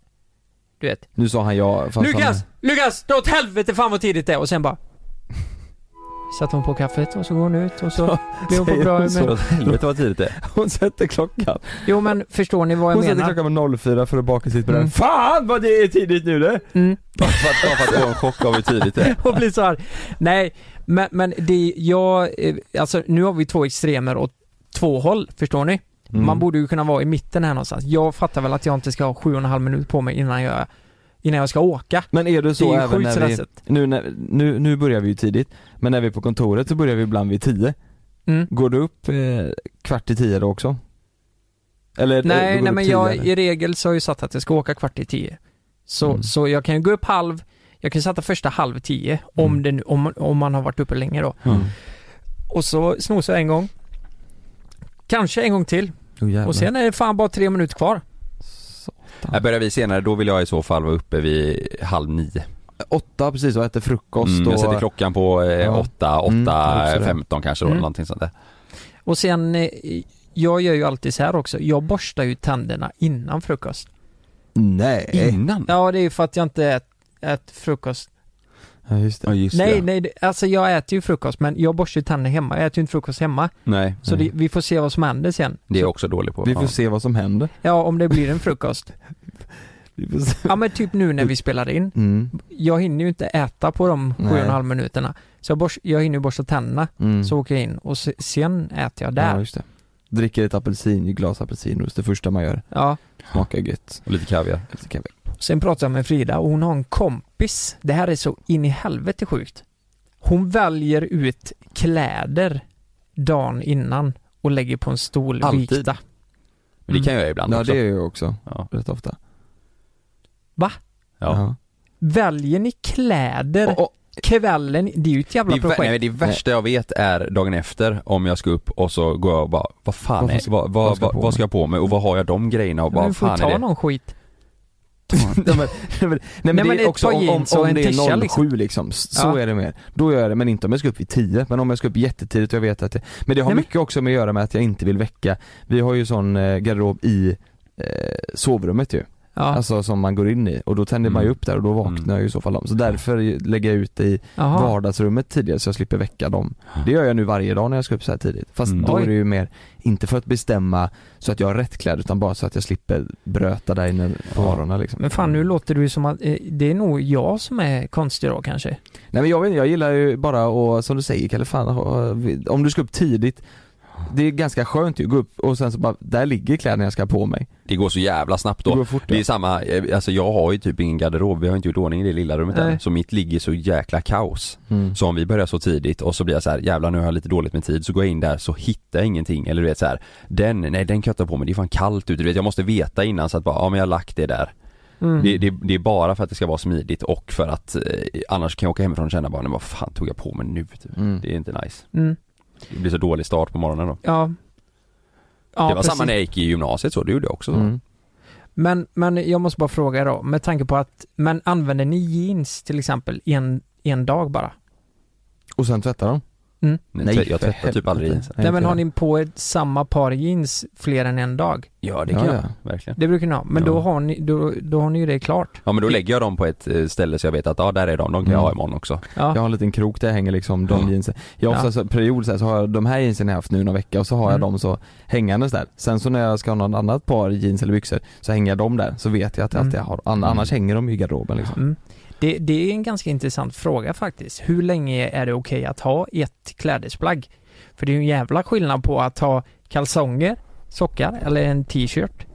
Speaker 3: Du vet.
Speaker 1: Nu sa han ja fast
Speaker 3: Lukas! Lukas! Dra åt helvete fan vad tidigt det är! Och sen bara... Satte hon på kaffet och så går hon ut och så blir hon på
Speaker 1: Säger
Speaker 3: bra
Speaker 1: hon så?
Speaker 3: humör.
Speaker 2: Helvete vad tidigt det är.
Speaker 1: Han, [laughs] hon sätter klockan.
Speaker 3: Jo men förstår ni vad jag
Speaker 1: Hon sätter
Speaker 3: menar?
Speaker 1: klockan med 04 för att baka sitt bröd.
Speaker 3: Mm.
Speaker 1: Fan vad det är tidigt nu det!
Speaker 3: Mm. [laughs]
Speaker 2: Bara för att- bara för att få en chock av hur tidigt det
Speaker 1: [laughs]
Speaker 2: är.
Speaker 3: och blir så här. Nej, men, men det, jag, eh, alltså nu har vi två extremer åt två håll, förstår ni?
Speaker 1: Mm.
Speaker 3: Man borde ju kunna vara i mitten här någonstans. Jag fattar väl att jag inte ska ha sju och en halv minut på mig innan jag, innan jag ska åka.
Speaker 1: Men är du
Speaker 3: Det
Speaker 1: så
Speaker 3: är ju
Speaker 1: även
Speaker 3: sjukt
Speaker 1: när vi,
Speaker 3: stressigt.
Speaker 1: nu, när, nu, nu börjar vi ju tidigt, men när vi är på kontoret så börjar vi ibland vid 10
Speaker 3: Mm.
Speaker 1: Går du upp eh, kvart i 10 då också? Eller eh,
Speaker 3: Nej,
Speaker 1: du går
Speaker 3: nej
Speaker 1: upp
Speaker 3: men
Speaker 1: tio,
Speaker 3: jag,
Speaker 1: eller? Mm.
Speaker 3: i regel så har jag ju satt att jag ska åka kvart i tio. Så, så jag kan ju gå upp halv, jag kan sätta första halv tio, om, det nu, om, om man har varit uppe länge då.
Speaker 1: Mm.
Speaker 3: Och så snosar jag en gång. Kanske en gång till.
Speaker 1: Oh, jävlar.
Speaker 3: Och sen är det fan bara tre minuter kvar.
Speaker 2: Här börjar vi senare, då vill jag i så fall vara uppe vid halv nio.
Speaker 1: Åtta precis och äter frukost
Speaker 2: Mm, jag
Speaker 1: och...
Speaker 2: sätter klockan på eh,
Speaker 1: Ja.
Speaker 2: åtta,
Speaker 1: Mm,
Speaker 2: åtta,
Speaker 1: absolut.
Speaker 2: femton kanske då,
Speaker 3: Mm.
Speaker 2: någonting sånt där.
Speaker 3: Och sen, eh, jag gör ju alltid så här också, jag borstar ju tänderna innan frukost.
Speaker 1: Nej.
Speaker 2: Innan?
Speaker 3: Ja, det är ju för att jag inte äter ät frukost.
Speaker 1: Ja just det.
Speaker 2: Ja just
Speaker 3: nej,
Speaker 2: det.
Speaker 3: nej, det- alltså jag äter ju frukost men jag borstar ju tänderna hemma, jag äter ju inte frukost hemma.
Speaker 2: Nej.
Speaker 3: Så
Speaker 1: Nej.
Speaker 3: det, vi får se vad som händer sen.
Speaker 2: Mm. Det är jag också dålig på.
Speaker 1: Vi får
Speaker 2: Ja.
Speaker 1: se vad som händer.
Speaker 3: Ja, om det blir
Speaker 2: [laughs]
Speaker 3: en frukost.
Speaker 1: Vi får se.
Speaker 3: Ja men typ nu när vi spelar in.
Speaker 1: Mm.
Speaker 3: Jag hinner ju inte äta på de sju och
Speaker 1: Nej.
Speaker 3: en halv minuterna. Så jag, borst, jag hinner ju borsta tänderna,
Speaker 1: Mm.
Speaker 3: så åker jag in och se, sen äter
Speaker 1: Ja,
Speaker 3: jag där.
Speaker 1: just det. Dricker ett apelsin, ett glas apelsinjuice det första man gör.
Speaker 3: Ja.
Speaker 1: Smakar gött.
Speaker 2: Och lite kaviar.
Speaker 1: Lite kaviar.
Speaker 3: Sen pratade jag med Frida och hon har en kompis. Det här är så in i helvete sjukt. Hon väljer ut kläder dagen innan och lägger på en stol
Speaker 1: Alltid.
Speaker 3: vikta.
Speaker 2: Men det kan jag göra ibland
Speaker 1: Mm. Ja
Speaker 2: också.
Speaker 1: det är jag också,
Speaker 2: Ja.
Speaker 1: rätt ofta.
Speaker 3: Va?
Speaker 2: Ja.
Speaker 3: Väljer ni kläder
Speaker 1: Och, och,
Speaker 3: kvällen? Det är ju ett jävla
Speaker 2: Det, är, vä-
Speaker 3: projekt.
Speaker 2: nej, men det värsta jag vet är dagen efter om jag ska upp och så går jag och bara, vad fan
Speaker 1: Vad
Speaker 2: är,
Speaker 1: ska-
Speaker 2: vad, vad,
Speaker 1: vad ska
Speaker 2: vad,
Speaker 1: jag på
Speaker 2: vad ska jag på mig och vad har jag de grejerna och
Speaker 3: men
Speaker 2: vad
Speaker 3: du får ju
Speaker 2: fan är det?
Speaker 3: ta någon skit.
Speaker 2: [laughs]
Speaker 1: nej, men, nej, men, nej, men
Speaker 3: men
Speaker 1: det
Speaker 3: ett
Speaker 1: är också
Speaker 3: par
Speaker 1: om, om,
Speaker 3: jeans och
Speaker 1: om
Speaker 3: en
Speaker 1: det
Speaker 3: tisha,
Speaker 1: är 07
Speaker 3: liksom.
Speaker 1: liksom, så
Speaker 3: Ja.
Speaker 1: är det mer. Då gör jag det, men inte om jag ska upp vid 10, men om jag ska upp jättetidigt och jag vet att det, Men det har
Speaker 3: Nej, men-
Speaker 1: mycket också med att göra med att jag inte vill väcka, vi har ju sån eh, garderob i eh, sovrummet ju,
Speaker 3: Ja.
Speaker 1: alltså som man går in i och då tänder man ju
Speaker 2: Mm.
Speaker 1: upp där och då vaknar
Speaker 2: Mm.
Speaker 1: jag ju i så fall om. Så därför lägger jag ut det i
Speaker 3: Jaha.
Speaker 1: vardagsrummet tidigare så jag slipper väcka dem. Det gör jag nu varje dag när jag ska upp så här tidigt. Fast
Speaker 2: Mm.
Speaker 1: då
Speaker 3: Ah. Oj.
Speaker 1: är det ju mer, inte för att bestämma så att jag har rätt kläder utan bara så att jag slipper bröta där inne på morgonen liksom.
Speaker 3: Men fan nu
Speaker 2: Mm.
Speaker 3: låter du ju som att eh, det är nog jag som är konstig då kanske.
Speaker 1: Nej men jag vet inte, jag gillar ju bara och som du säger Kalle, fan, ha- om du ska upp tidigt det är ganska skönt ju, gå upp och sen så bara, där ligger kläderna jag ska ha på mig.
Speaker 2: Det går så jävla snabbt
Speaker 1: Det
Speaker 2: då.
Speaker 1: går fort
Speaker 2: Det
Speaker 1: ja.
Speaker 2: är samma, eh, alltså jag har ju typ ingen garderob, vi har inte gjort ordning i det lilla rummet
Speaker 3: Nej.
Speaker 2: än. Så mitt ligger så jäkla kaos.
Speaker 1: Mm.
Speaker 2: Så om vi börjar så tidigt och så blir jag så här, jävlar nu har jag lite dåligt med tid, så går jag in där så hittar jag ingenting. Eller du vet så här, den, nej den kan jag ta på mig, det är fan kallt ute. Du vet jag måste veta innan så att bara, ja men jag har lagt det där.
Speaker 1: Mm.
Speaker 3: Mm.
Speaker 2: Det, det, det är bara för att det ska vara smidigt och för att eh, annars kan jag åka hemifrån och känna bara, nej, vad fan tog jag på mig nu? Typ.
Speaker 1: Mm.
Speaker 2: Det är inte nice.
Speaker 3: Mm.
Speaker 2: Det blir så dålig start på morgonen då.
Speaker 3: Ja. Ja,
Speaker 2: det var
Speaker 3: precis.
Speaker 2: samma när jag gick i gymnasiet så, det gjorde jag också. så.
Speaker 1: Mm.
Speaker 3: Men, men jag måste bara fråga då, med tanke på att, men använder ni jeans till exempel en, en dag bara? Mm.
Speaker 1: Och sen tvättar de?
Speaker 2: Nej, tvätt- jag
Speaker 1: för
Speaker 2: tvättar typ
Speaker 1: helvete. alltså.
Speaker 2: aldrig jeansen.
Speaker 3: Nej men
Speaker 1: inte
Speaker 3: har
Speaker 1: jag.
Speaker 3: ni på er samma par jeans fler än en dag?
Speaker 2: Ja det
Speaker 1: Ja,
Speaker 2: kan jag,
Speaker 1: ja.
Speaker 2: verkligen.
Speaker 3: Det brukar ni ha, men
Speaker 2: Ja.
Speaker 3: då, har ni, då, då har ni ju det klart.
Speaker 2: Ja men då lägger jag dem på ett eh, ställe så jag vet att ja där är de, de kan jag
Speaker 1: Mm.
Speaker 2: ha imorgon också.
Speaker 3: Ja.
Speaker 1: Jag har en liten krok där jag hänger liksom de
Speaker 2: Ja.
Speaker 1: jeansen. Jag har
Speaker 3: Ja.
Speaker 1: ofta så period så, här, så har jag de här jeansen jag haft nu någon vecka och så har jag
Speaker 3: Mm.
Speaker 1: dem så hängandes där. Sen så när jag ska ha något annat par jeans eller byxor så hänger jag dem där så vet jag att jag
Speaker 3: Mm.
Speaker 1: alltid har, an- annars hänger de i garderoben liksom.
Speaker 3: Mm. Det, det är en ganska intressant fråga faktiskt. Hur länge är det okej att ha ett klädesplagg? För det är ju en jävla skillnad på att ha kalsonger, sockar eller en t-shirt.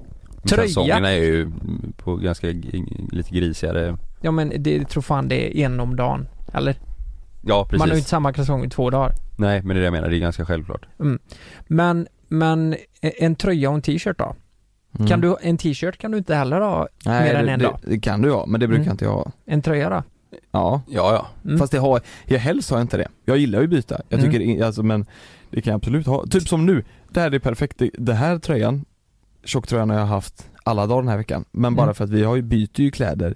Speaker 3: Tröja.
Speaker 2: Kalsongerna är ju mm, på ganska g- lite grisigare.
Speaker 3: Ja men det jag tror fan det är en om dagen. Eller?
Speaker 2: Ja precis.
Speaker 3: Man har ju inte samma kalsonger i två dagar.
Speaker 2: Nej men det är det jag menar, det är ganska självklart.
Speaker 3: Men, men e- en tröja och en t-shirt då?
Speaker 1: Mm.
Speaker 3: Kan du, en t-shirt kan du inte heller ha.
Speaker 1: Nej,
Speaker 3: mer än
Speaker 1: det,
Speaker 3: en
Speaker 1: det,
Speaker 3: dag?
Speaker 1: Det kan du ha, men det brukar
Speaker 3: Mm.
Speaker 1: inte jag ha.
Speaker 3: En tröja då?
Speaker 1: Ja,
Speaker 2: Ja ja.
Speaker 3: Mm.
Speaker 1: fast det har, jag helst har jag inte det. Jag gillar ju byta, jag
Speaker 3: Mm.
Speaker 1: tycker, i- alltså men det kan jag absolut ha. Typ som nu, det här är perfekt, Det- det här tröjan, tjocktröjan har jag haft alla dagar den här veckan. Men bara
Speaker 3: Mm.
Speaker 1: för att vi har ju, byter ju kläder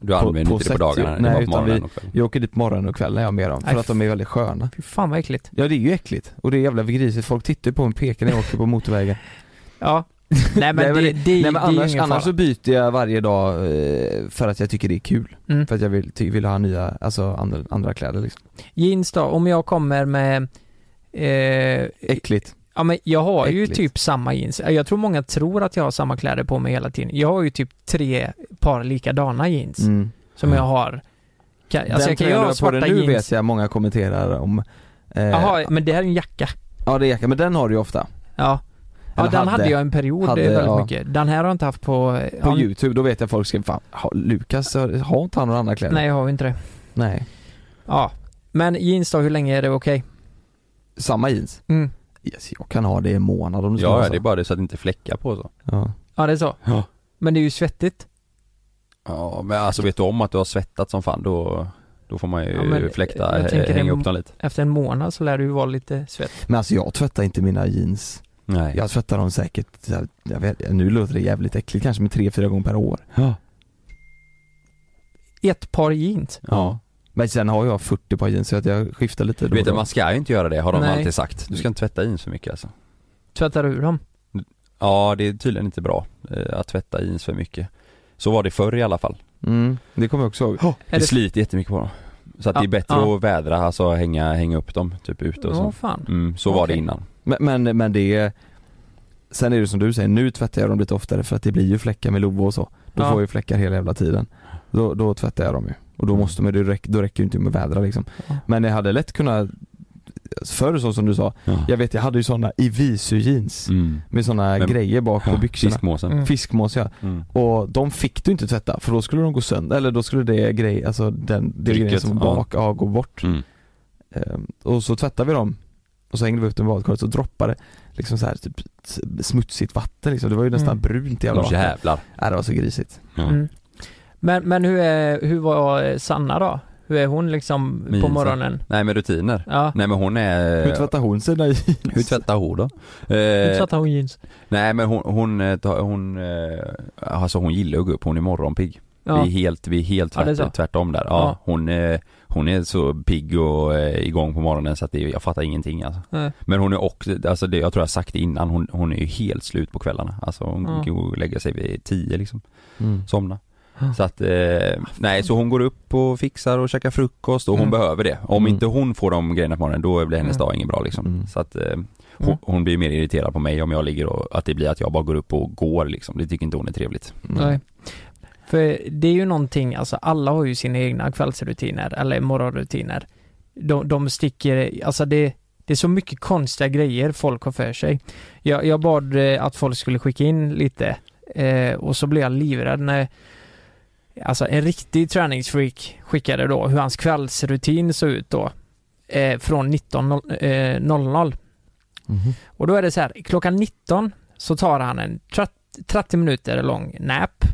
Speaker 2: Du
Speaker 1: På-
Speaker 2: använder
Speaker 1: på
Speaker 2: inte det på
Speaker 1: sätt-
Speaker 2: dagarna,
Speaker 1: nej,
Speaker 2: det är bara på
Speaker 1: utan
Speaker 2: morgonen
Speaker 1: vi-
Speaker 2: och kvällen.
Speaker 1: Jag åker dit morgon och kväll när jag har med dem, för
Speaker 3: Aj,
Speaker 1: att de är väldigt sköna.
Speaker 3: Fy fan vad äckligt.
Speaker 1: Ja det är ju äckligt, och det är jävla grisigt, folk tittar ju på en pekar när jag åker på
Speaker 3: [laughs]
Speaker 1: motorvägen
Speaker 3: Ja. Nej men, det, det, det,
Speaker 1: [laughs] Nej men
Speaker 3: är ju
Speaker 1: annars,
Speaker 3: ingen
Speaker 1: annars så
Speaker 3: fara.
Speaker 1: byter jag varje dag eh, för att jag tycker det är kul,
Speaker 3: Mm.
Speaker 1: för att jag vill, ty, vill ha nya, alltså andra, andra kläder liksom
Speaker 3: Jeans då? Om jag kommer med eh,
Speaker 1: Äckligt
Speaker 3: Ja men jag har ju
Speaker 1: Äckligt.
Speaker 3: typ samma jeans. Jag tror många tror att jag har samma kläder på mig hela tiden. Jag har ju typ tre par likadana jeans
Speaker 1: mm.
Speaker 3: som jag har. Ka- Alltså jag kan
Speaker 1: tröjan
Speaker 3: ju
Speaker 1: du
Speaker 3: ha
Speaker 1: har på
Speaker 3: svarta
Speaker 1: dig nu
Speaker 3: jeans.
Speaker 1: vet jag många kommenterar om eh,
Speaker 3: Jaha, men det här är en jacka.
Speaker 1: Ja det är jacka, men den har du ju ofta
Speaker 3: Ja. Ja
Speaker 1: Eller
Speaker 3: den hade,
Speaker 1: hade.
Speaker 3: jag en period
Speaker 1: Hade,
Speaker 3: väldigt
Speaker 1: ja.
Speaker 3: mycket. Den här har jag inte haft på... eh,
Speaker 1: På
Speaker 3: ja,
Speaker 1: youtube, då vet jag folk skriver fan, har, Lukas, har har inte han några andra kläder?
Speaker 3: Nej jag har ju inte det.
Speaker 1: Nej.
Speaker 3: Ja. Men jeans då, hur länge är det okej?
Speaker 1: Samma jeans?
Speaker 3: Mm.
Speaker 1: Yes, jag kan ha det i en månad om du ska
Speaker 2: Ja,
Speaker 1: ha
Speaker 2: ja,
Speaker 1: så.
Speaker 2: det är bara det så att det inte fläckar på så.
Speaker 1: Ja.
Speaker 3: Ja, det är så.
Speaker 2: Ja.
Speaker 3: Men det är ju svettigt.
Speaker 2: Ja, men alltså vet du om att du har svettat som fan då, då får man ju
Speaker 3: Ja, men eh,
Speaker 2: fläkta, eh,
Speaker 3: jag tänker
Speaker 2: hänga
Speaker 3: en-
Speaker 2: upp dem lite.
Speaker 3: Efter en månad så lär det ju vara lite svett.
Speaker 1: Men alltså jag tvättar inte mina jeans.
Speaker 2: Nej.
Speaker 1: Jag tvättar dem säkert, så här, jag vet, nu låter det jävligt äckligt, kanske med tre, fyra gånger per år.
Speaker 2: Ja.
Speaker 3: Ett par jeans.
Speaker 1: Ja. Men sen har jag 40 par jeans så att jag skiftar lite
Speaker 2: Du
Speaker 1: då
Speaker 2: vet
Speaker 1: och
Speaker 2: att
Speaker 1: då.
Speaker 2: man ska ju inte göra det har de
Speaker 3: Nej.
Speaker 2: alltid sagt. Du ska inte tvätta in så mycket alltså.
Speaker 3: Tvättar ur dem.
Speaker 2: Ja, det är tydligen inte bra eh, att tvätta jeans för mycket. Så var det förr i alla fall.
Speaker 1: Mm, det kommer jag också ihåg.
Speaker 2: Det
Speaker 3: Är det-
Speaker 2: sliter jättemycket på dem. Så att det är
Speaker 3: Ja,
Speaker 2: bättre
Speaker 3: ja.
Speaker 2: att vädra, alltså hänga, hänga upp dem typ ute och
Speaker 3: Ja,
Speaker 2: så.
Speaker 3: fan.
Speaker 2: Mm, så var det
Speaker 3: Okej.
Speaker 2: innan.
Speaker 1: Men, men, men det är, sen är det som du säger, nu tvättar jag dem lite oftare för att det blir ju fläckar med Love och så. Då
Speaker 3: Ja.
Speaker 1: får jag ju fläckar hela jävla tiden. Då, då tvättar jag dem ju. Och
Speaker 2: Mm.
Speaker 1: då måste man, det räck, då räcker det ju inte med vädra liksom.
Speaker 3: Ja.
Speaker 1: Men jag hade lätt kunnat, förr så som du sa,
Speaker 2: Ja.
Speaker 1: jag vet jag hade ju sådana Ivisu jeans
Speaker 2: Mm.
Speaker 1: med sådana
Speaker 2: Men-
Speaker 1: grejer bak på
Speaker 2: Ja,
Speaker 1: byxorna.
Speaker 2: Fiskmåsen.
Speaker 3: Mm.
Speaker 1: Fiskmås ja.
Speaker 2: Mm.
Speaker 1: Och de fick du inte tvätta för då skulle de gå sönder, eller då skulle det grej, alltså den, det
Speaker 2: Trycket,
Speaker 1: grejen som
Speaker 2: ja.
Speaker 1: var bak, ja. gå bort.
Speaker 2: Mm.
Speaker 1: Ehm, och så tvättade vi dem och så hängde vi upp dem i badkaret så droppade liksom så här typ s- smutsigt vatten liksom. Det var ju nästan
Speaker 3: Mm.
Speaker 1: brunt jävla
Speaker 2: De
Speaker 1: vatten.
Speaker 2: jävlar.
Speaker 1: Nej, det var så grisigt.
Speaker 2: Ja.
Speaker 3: Mm. Men, men hur, är, hur var eh, Sanna då? Hur är hon liksom på
Speaker 2: jeansen.
Speaker 3: morgonen?
Speaker 2: Nej men rutiner.
Speaker 3: Ja.
Speaker 2: Nej men hon är...
Speaker 1: Hur tvättar hon sina jeans?
Speaker 2: Hur tvättar hon då?
Speaker 3: Hur
Speaker 2: Eh,
Speaker 3: tvättar hon jeans?
Speaker 2: nej men hon, hon, eh, tar- hon, eh, alltså hon gillar att gå upp, hon är morgonpigg.
Speaker 3: Ja.
Speaker 2: Vi är helt, vi är helt
Speaker 3: Ja, det är
Speaker 2: tvärt,
Speaker 3: så.
Speaker 2: tvärtom där. Ja,
Speaker 3: Ja.
Speaker 2: Hon, eh, hon är så pigg och eh, igång på morgonen så att det, jag fattar ingenting alltså.
Speaker 3: Nej.
Speaker 2: Men hon är också, alltså det, jag tror jag har sagt det innan, hon, hon är ju helt slut på kvällarna. Alltså hon
Speaker 3: Ja.
Speaker 2: går och lägger sig vid tio liksom,
Speaker 1: Mm.
Speaker 2: somna. Så att, eh, nej så hon går upp och fixar och käkar frukost och hon
Speaker 3: Mm.
Speaker 2: behöver det. Om
Speaker 1: Mm.
Speaker 2: inte hon får de grejerna på morgonen då blir hennes
Speaker 3: Mm.
Speaker 2: dag ingen bra liksom.
Speaker 1: Mm.
Speaker 2: Så att eh, hon,
Speaker 3: Mm.
Speaker 2: hon blir mer irriterad på mig om jag ligger och, att det blir att jag bara går upp och går liksom. Det tycker inte hon är trevligt.
Speaker 3: Nej. För det är ju någonting, alltså alla har ju sina egna kvällsrutiner eller morgonrutiner. De, de sticker, alltså det, det är så mycket konstiga grejer folk har för sig. Jag, jag bad eh, att folk skulle skicka in lite eh, och så blev jag livrädd när Alltså en riktig träningsfreak skickade då hur hans kvällsrutin såg ut då. Eh, från 19.00.
Speaker 1: Mhm.
Speaker 3: Och då är det så här, klockan 19 så tar han en 30 30 minuter lång nap.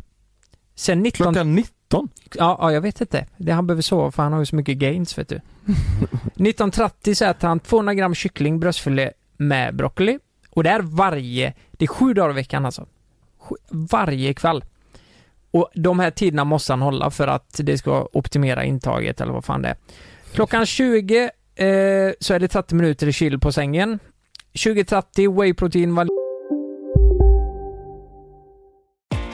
Speaker 3: Sen 19...
Speaker 1: Klockan 19?
Speaker 3: Ja, ja, jag vet inte. Det han behöver sova för han har ju så mycket gains, vet du. 19.30 så äter han 200 gram kyckling, bröstfilé med broccoli. Och det är varje... Det är sju dagar i veckan alltså. Sju- Varje kväll. Och de här tiderna måste han hålla för att det ska optimera intaget eller vad fan det är. Klockan 20 eh, så är det 30 minuter i kyl på sängen. 20.30 whey protein vanilj.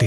Speaker 6: Det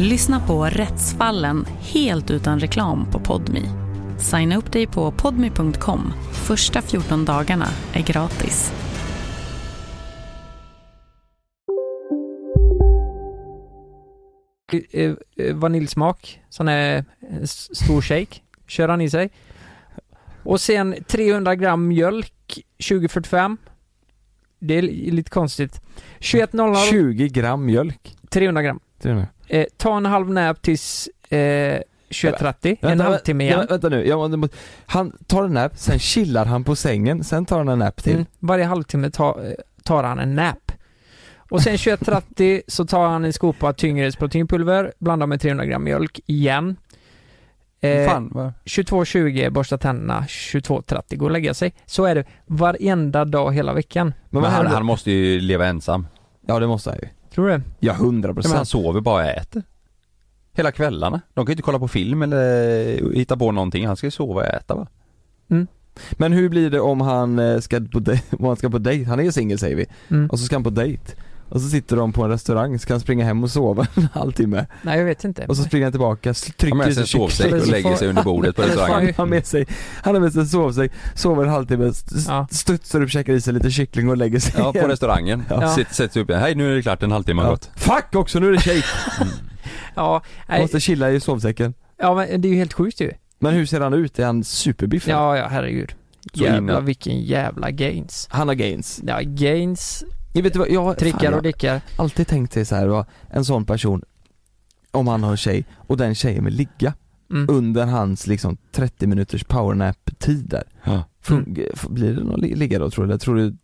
Speaker 7: Lyssna på Rättsfallen helt utan reklam på Podmi. Signa upp dig på podmi.com. Första 14 dagarna är gratis.
Speaker 3: eh, eh, vaniljsmak, sån här eh, s- stor shake, kör han i sig. Och sen 300 gram mjölk 2045. Det är li- lite konstigt. 21.00,
Speaker 1: 20 gram mjölk?
Speaker 3: 300 gram.
Speaker 1: Till och med.
Speaker 3: Eh, ta en halv nap tills eh, 21.30, en
Speaker 1: Vänta,
Speaker 3: halvtimme
Speaker 1: vä-
Speaker 3: igen.
Speaker 1: vä- Vänta nu, jag, måste- måste- han tar en nap, sen chillar han på sängen, sen tar han en nap till.
Speaker 3: Mm. Varje halvtimme ta, eh, tar han en nap. Och sen 21.30 så tar han en skopa tyngre proteinpulver, blandar med 300 gram mjölk igen. Mm, Eh,
Speaker 1: Fan, vad-
Speaker 3: 22.20 borsta tänderna, 22.30 gå och lägga sig. Så är det varenda dag hela veckan.
Speaker 2: Men, han, han måste ju leva ensam.
Speaker 1: Ja det måste han ju.
Speaker 3: Tror du det?
Speaker 1: Ja, hundra
Speaker 2: Men han sover bara och äter. Hela kvällarna. De kan ju inte kolla på film eller hitta på någonting. Han ska ju sova och äta va?
Speaker 1: Men hur blir det om han eh, ska på dej- [laughs] om han ska på dejt? Han är ju singel säger vi.
Speaker 3: Mm.
Speaker 1: Och så ska han på dejt. Och så sitter de på en restaurang, ska han springa hem och sova [laughs] en halvtimme?
Speaker 3: Nej jag vet inte.
Speaker 1: Och så springer han tillbaka, s- trycker
Speaker 2: med sig en
Speaker 1: kyckling.
Speaker 2: sovsäck och lägger sig under bordet på
Speaker 1: Eller så
Speaker 2: restaurangen.
Speaker 1: har Han med sig, han har med sig en sovsäck, sover en halvtimme, st- studsar upp, käkar i sig lite kyckling och lägger sig
Speaker 2: Ja, på
Speaker 1: igen.
Speaker 2: restaurangen.
Speaker 1: Ja.
Speaker 2: Sitt, sätter sig upp igen. Hej nu är det klart, en halvtimme har
Speaker 1: Ja.
Speaker 2: gått.
Speaker 1: Fuck också, nu är det shake!
Speaker 3: ja, nej.
Speaker 1: Måste chilla i sovsäcken.
Speaker 3: ja, men det är ju helt sjukt ju.
Speaker 1: Men hur ser han ut? Är han superbiffig?
Speaker 3: Ja, ja herregud.
Speaker 1: Så
Speaker 3: Jävlar
Speaker 1: innan-
Speaker 3: vilken jävla gains.
Speaker 1: Han har gains.
Speaker 3: Ja, gains.
Speaker 1: Jag vet du vad, jag,
Speaker 3: Trickar
Speaker 1: jag
Speaker 3: och dickar.
Speaker 1: har alltid tänkt sig så här, va, en sån person, om han har en tjej och den tjejen vill ligga
Speaker 3: Mm.
Speaker 1: under hans liksom 30 minuters powernap-tid där.
Speaker 2: Ja.
Speaker 3: Mm.
Speaker 1: Fun- f- Blir det någon li- ligga då tror du? Eller tror du